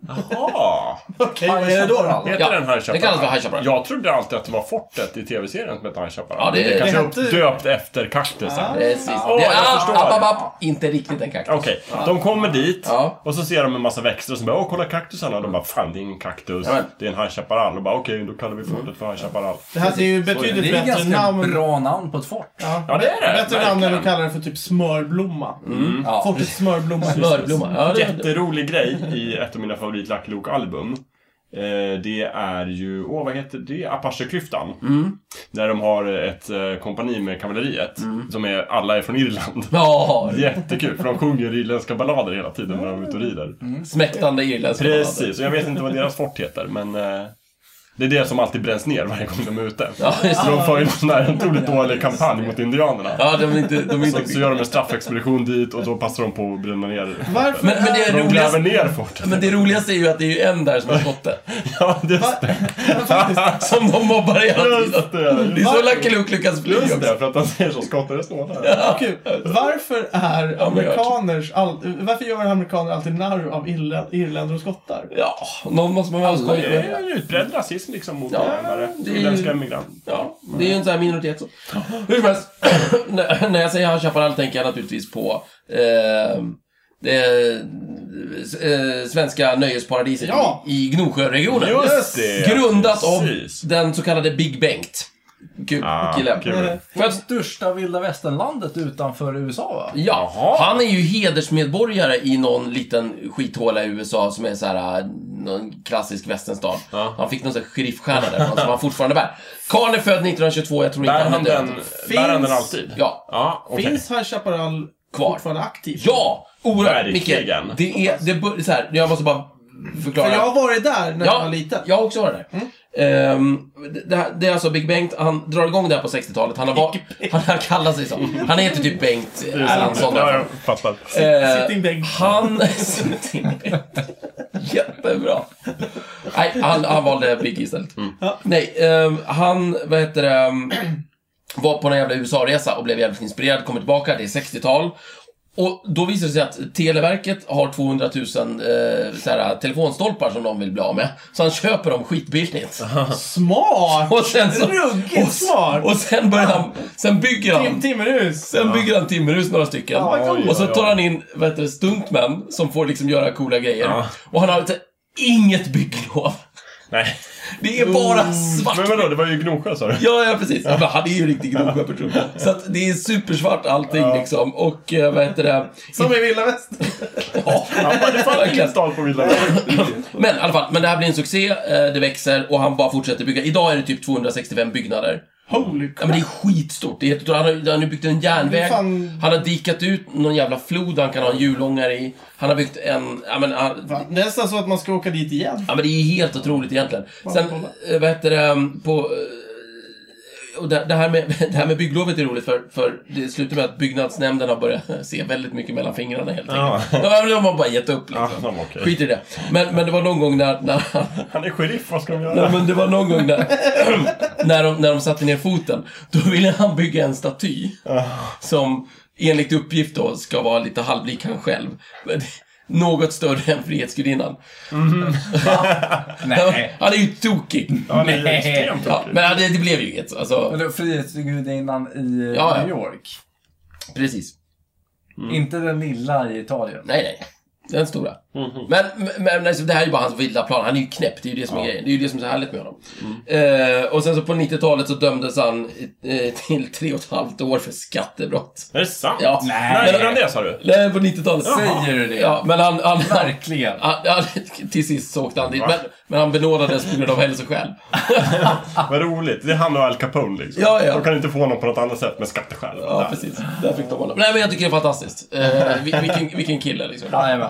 Speaker 4: Jaha.
Speaker 1: Okej, vad är det då? då?
Speaker 4: Heter
Speaker 3: Ja,
Speaker 4: den High
Speaker 3: det
Speaker 4: Chaparral?
Speaker 3: kallas för High Chaparral.
Speaker 4: Jag trodde alltid att det var fortet i TV-serien som hette High Chaparral.
Speaker 3: Ja, det-
Speaker 4: Men kanske
Speaker 1: det
Speaker 4: är
Speaker 1: hette-
Speaker 4: döpt efter kaktusen.
Speaker 3: Precis.
Speaker 4: Åh,
Speaker 3: det
Speaker 4: jag
Speaker 3: är,
Speaker 4: förstår.
Speaker 3: app, app, app, inte riktigt en kaktus.
Speaker 4: Okej, de kommer dit
Speaker 3: Ja.
Speaker 4: och så ser de en massa växter och så bara åh kolla kaktusarna. De bara fan det är ingen kaktus,
Speaker 3: Jajamän.
Speaker 4: det är en High Chaparral. Och bara okej, då kallar vi fortet för High Chaparral.
Speaker 1: Det här är ju
Speaker 2: Det
Speaker 1: betydligt
Speaker 2: är
Speaker 1: bättre
Speaker 2: ganska
Speaker 1: namn.
Speaker 2: bra namn på ett fort.
Speaker 4: Ja, det är det,
Speaker 1: Bättre namn än
Speaker 4: verkligen. Mm.
Speaker 1: att kalla det för typ smörblomma.
Speaker 2: Ja.
Speaker 1: Fortet smörblomma.
Speaker 3: Smörblomma. Ja, det,
Speaker 4: Jätterolig grej i ett av mina favorit Lucky Luke-album. Eh, Det är ju, åh vad heter det? Apacheklyftan.
Speaker 3: Mm.
Speaker 4: Där de har ett eh, kompani med kavalleriet.
Speaker 3: Mm.
Speaker 4: Som är, alla är från Irland.
Speaker 3: Ja,
Speaker 4: Jättekul, för de sjunger irländska ballader hela tiden när de är ute och rider.
Speaker 3: Mm. smäktande irländska ballader.
Speaker 4: Precis, och jag vet inte vad deras fort heter, men eh, det är det som alltid bränns ner varje gång de är ute.
Speaker 3: Ja, just
Speaker 4: Så
Speaker 3: det.
Speaker 4: de för ju en sån här otroligt dålig kampanj mot indianerna.
Speaker 3: Ja, de är inte... De är
Speaker 4: Så,
Speaker 3: inte
Speaker 4: så gör de en straffexpedition dit och då passar de på att bränna ner.
Speaker 1: Varför
Speaker 3: men, men, det
Speaker 1: är...
Speaker 4: De
Speaker 3: är roligast,
Speaker 4: gräver ner fortet.
Speaker 3: men det roligaste är ju att det är ju en där som har fått det.
Speaker 4: Ja, just det.
Speaker 3: Som de mobbar hela tiden.
Speaker 4: Just det.
Speaker 3: Det är så Lucky Luke lyckas bli
Speaker 4: Just
Speaker 3: också.
Speaker 4: det, för att han säger så. Skottar är snålare.
Speaker 1: Kul. Varför är
Speaker 3: men jag-
Speaker 1: amerikaners... All... Varför gör amerikaner alltid narr av irlä- irländare och skottar?
Speaker 3: Ja, någon måste man vara skojig
Speaker 4: Det är
Speaker 3: med.
Speaker 4: en utbredd rasism liksom mot
Speaker 3: Ja,
Speaker 4: invandrare.
Speaker 3: det är ju-
Speaker 4: Irländska emigranter.
Speaker 3: Ja, det är ju en sån här minoritet så. Hur som helst, när när jag säger High Chaparral tänker jag naturligtvis på eh, det eh, svenska nöjesparadiset
Speaker 1: Ja.
Speaker 3: i, i Gnosjöregionen.
Speaker 4: Just det,
Speaker 3: Grundat av
Speaker 4: precis.
Speaker 3: den så kallade Big Bengt. Kul,
Speaker 4: Ah,
Speaker 3: killen.
Speaker 4: kul.
Speaker 1: Eller-
Speaker 2: För att största vilda västernlandet utanför USA va?
Speaker 3: Ja,
Speaker 4: Jaha.
Speaker 3: han är ju hedersmedborgare i någon liten skithåla i USA som är så här äh, någon klassisk västernstad.
Speaker 4: Ja.
Speaker 3: Han fick någon sån här sheriffstjärna där alltså, som han fortfarande bär. Karln är född 1922, jag tror inte
Speaker 4: Bär han
Speaker 3: är död.
Speaker 4: den, bär han den alltid?
Speaker 3: Ja.
Speaker 4: Ja, okej.
Speaker 1: Finns High Chaparral
Speaker 3: Kvar.
Speaker 1: fortfarande aktiv?
Speaker 3: Ja! Oerhört, Micke.
Speaker 4: Verkligen.
Speaker 3: Det är, det bör, så här, jag måste bara förklara.
Speaker 1: För jag har varit där när jag
Speaker 3: ja,
Speaker 1: var liten. Mm.
Speaker 3: Jag har också varit där. Ehm, det- det, här- det är alltså Big Bengt, han drar igång det här på 60-talet. Han har, var, han har kallat sig så. Han heter typ Bengt Erlandsson.
Speaker 4: Ja, jag fattar.
Speaker 3: Eh,
Speaker 1: Sitting Bengt.
Speaker 3: Han... Sitting Bengt. Jättebra. Nej, han, han valde Biggie istället.
Speaker 1: Ja.
Speaker 3: Nej, ehm, han, vad heter det, ehm, var på en jävla USA-resa och blev jävligt inspirerad, kommer tillbaka, det är 60-tal. Och då visar det sig att Televerket har 200 000 eh, så här, telefonstolpar som de vill bli av med. Så han köper dem skitbilligt.
Speaker 1: Smart!
Speaker 3: Och sen så...
Speaker 1: Ruggigt
Speaker 3: och,
Speaker 1: smart!
Speaker 3: Och sen börjar han... Sen bygger han...
Speaker 1: Tim- Timmerhus!
Speaker 3: Sen bygger han timmerhus några stycken.
Speaker 4: Ja, oj,
Speaker 3: och så
Speaker 4: oj, oj.
Speaker 3: tar han in vad heter det, stuntmän som får liksom göra coola grejer. Och han har inte, inget bygglov.
Speaker 4: Nej. Mm.
Speaker 3: Det är bara svart.
Speaker 4: Men vadå, det var ju Gnosjö sa du?
Speaker 3: Ja, ja precis. Ja. men Han är ju en riktig Gnosjöperson. Så att det är supersvart allting liksom. Och eh, vad heter det?
Speaker 1: Som i Vilda Västern.
Speaker 3: Ja,
Speaker 4: Ja, det fanns
Speaker 3: verkligen.
Speaker 4: ingen stad på Vilda Västern.
Speaker 3: Men i alla fall, men det här blir en succé. eh, Det växer och han bara fortsätter bygga. Idag är det typ 265 byggnader.
Speaker 1: Holy
Speaker 3: Ja, men det är skitstort. Det är jättestort. Han har, han har ju byggt en järnväg.
Speaker 1: Fan.
Speaker 3: Han har dikat ut någon jävla flod han kan ha en julångare i. Han har byggt en... Ja, men, ah, han,
Speaker 1: Va? Nästan så att man ska åka dit igen.
Speaker 3: Ja, men det är helt otroligt egentligen. Sen,
Speaker 1: kolla.
Speaker 3: eh, vad heter det, på... eh, Och det, det, här med, det här med bygglovet är roligt för, för det slutar med att byggnadsnämnden har börjat se väldigt mycket mellan fingrarna helt
Speaker 4: Ja.
Speaker 3: enkelt. Ja. men De har bara gett upp
Speaker 4: Ja,
Speaker 3: liksom.
Speaker 4: de var okej.
Speaker 3: Skit i det. Men, men det var någon gång när, när,
Speaker 4: Han är sheriff, vad ska de
Speaker 3: Nej,
Speaker 4: göra?
Speaker 3: men det var någon gång när, när, de, när de satte ner foten. Då ville han bygga en staty som enligt uppgift då ska vara lite halvlik han själv. Men något större än Frihetsgudinnan. Han är ju tokig.
Speaker 4: Han är ju extremt
Speaker 3: Ja,
Speaker 4: tokig.
Speaker 3: men det, det blev ju inget. Alltså,
Speaker 2: Eller Frihetsgudinnan i
Speaker 3: Ja, ja.
Speaker 2: New York.
Speaker 3: precis.
Speaker 2: Inte den lilla i Italien.
Speaker 3: Nej, nej. Den stora.
Speaker 2: Mhm.
Speaker 3: Men, men, men alltså, det här är ju bara hans vilda plan. Han är ju knäpp. Det är ju det som är grejen. Det är ju det som är så härligt med honom.
Speaker 2: Mm.
Speaker 3: Eh, och sen så på 90-talet så dömdes han eh, till tre och ett halvt år för skattebrott.
Speaker 4: Är det sant?
Speaker 3: Ja.
Speaker 4: När gjorde han det sa du?
Speaker 3: Nej, på 90-talet.
Speaker 2: Säger du det?
Speaker 3: Ja, men han... han, han
Speaker 2: Verkligen.
Speaker 3: han, han, till sist så åkte han dit, men, men han benådades på grund av hälsoskäl.
Speaker 4: Vad roligt. Det är han och Al Capone liksom.
Speaker 3: Ja, ja.
Speaker 4: De kan inte få honom på något annat sätt med skatteskäl.
Speaker 3: Ja, precis. Där fick de honom. Nej, men jag tycker det är fantastiskt. Eh, vil- vilken, vilken kille, liksom.
Speaker 2: Jajamän.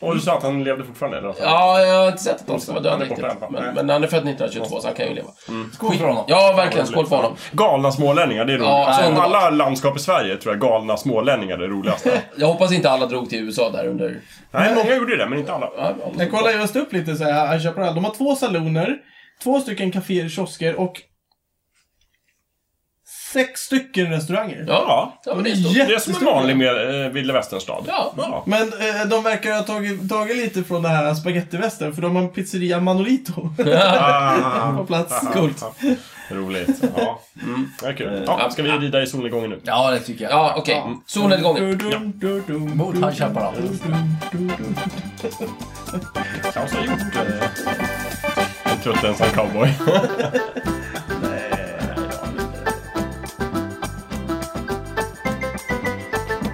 Speaker 4: Och du sa att han levde fortfarande? Eller?
Speaker 3: Ja, jag har inte sett att de ska vara
Speaker 4: Han
Speaker 3: döda
Speaker 4: är borta i alla
Speaker 3: riktigt.
Speaker 4: fall.
Speaker 3: Men,
Speaker 4: Nej. Mm.
Speaker 3: men han är född 1922, så han kan ju leva.
Speaker 2: Skål för honom.
Speaker 3: Ja, verkligen. Skål för honom.
Speaker 4: Galna smålänningar, det är roligt.
Speaker 3: Ja,
Speaker 4: alltså, av
Speaker 3: underbart.
Speaker 4: alla landskap i Sverige tror jag galna smålänningar är det roligaste.
Speaker 3: Jag hoppas inte alla drog till USA där under...
Speaker 4: Nej, många gjorde ju det, men inte alla.
Speaker 3: Ja, jag hoppas-
Speaker 1: Jag kollar just upp lite så här, High Chaparral. De har två saloner, två stycken kaféer, kiosker och sex stycken restauranger.
Speaker 3: Ja, ja men det är stort.
Speaker 1: Jätte-
Speaker 4: Det är som en vanlig med, eh, vilda västernstad.
Speaker 3: Ja.
Speaker 1: Men eh, de verkar ha tagit, tagit lite från det här spagettivästern, för de har en pizzeria Manolito
Speaker 4: Ah,
Speaker 1: på plats.
Speaker 3: Coolt.
Speaker 4: roligt. Ja. Mm. Det är kul. Ja, ska vi rida i solnedgången nu?
Speaker 2: Ja, det tycker jag.
Speaker 3: Ja, okej. Solnedgången.
Speaker 2: Mot High Chaparral.
Speaker 4: Klaus har gjort eh, en trött ensam cowboy.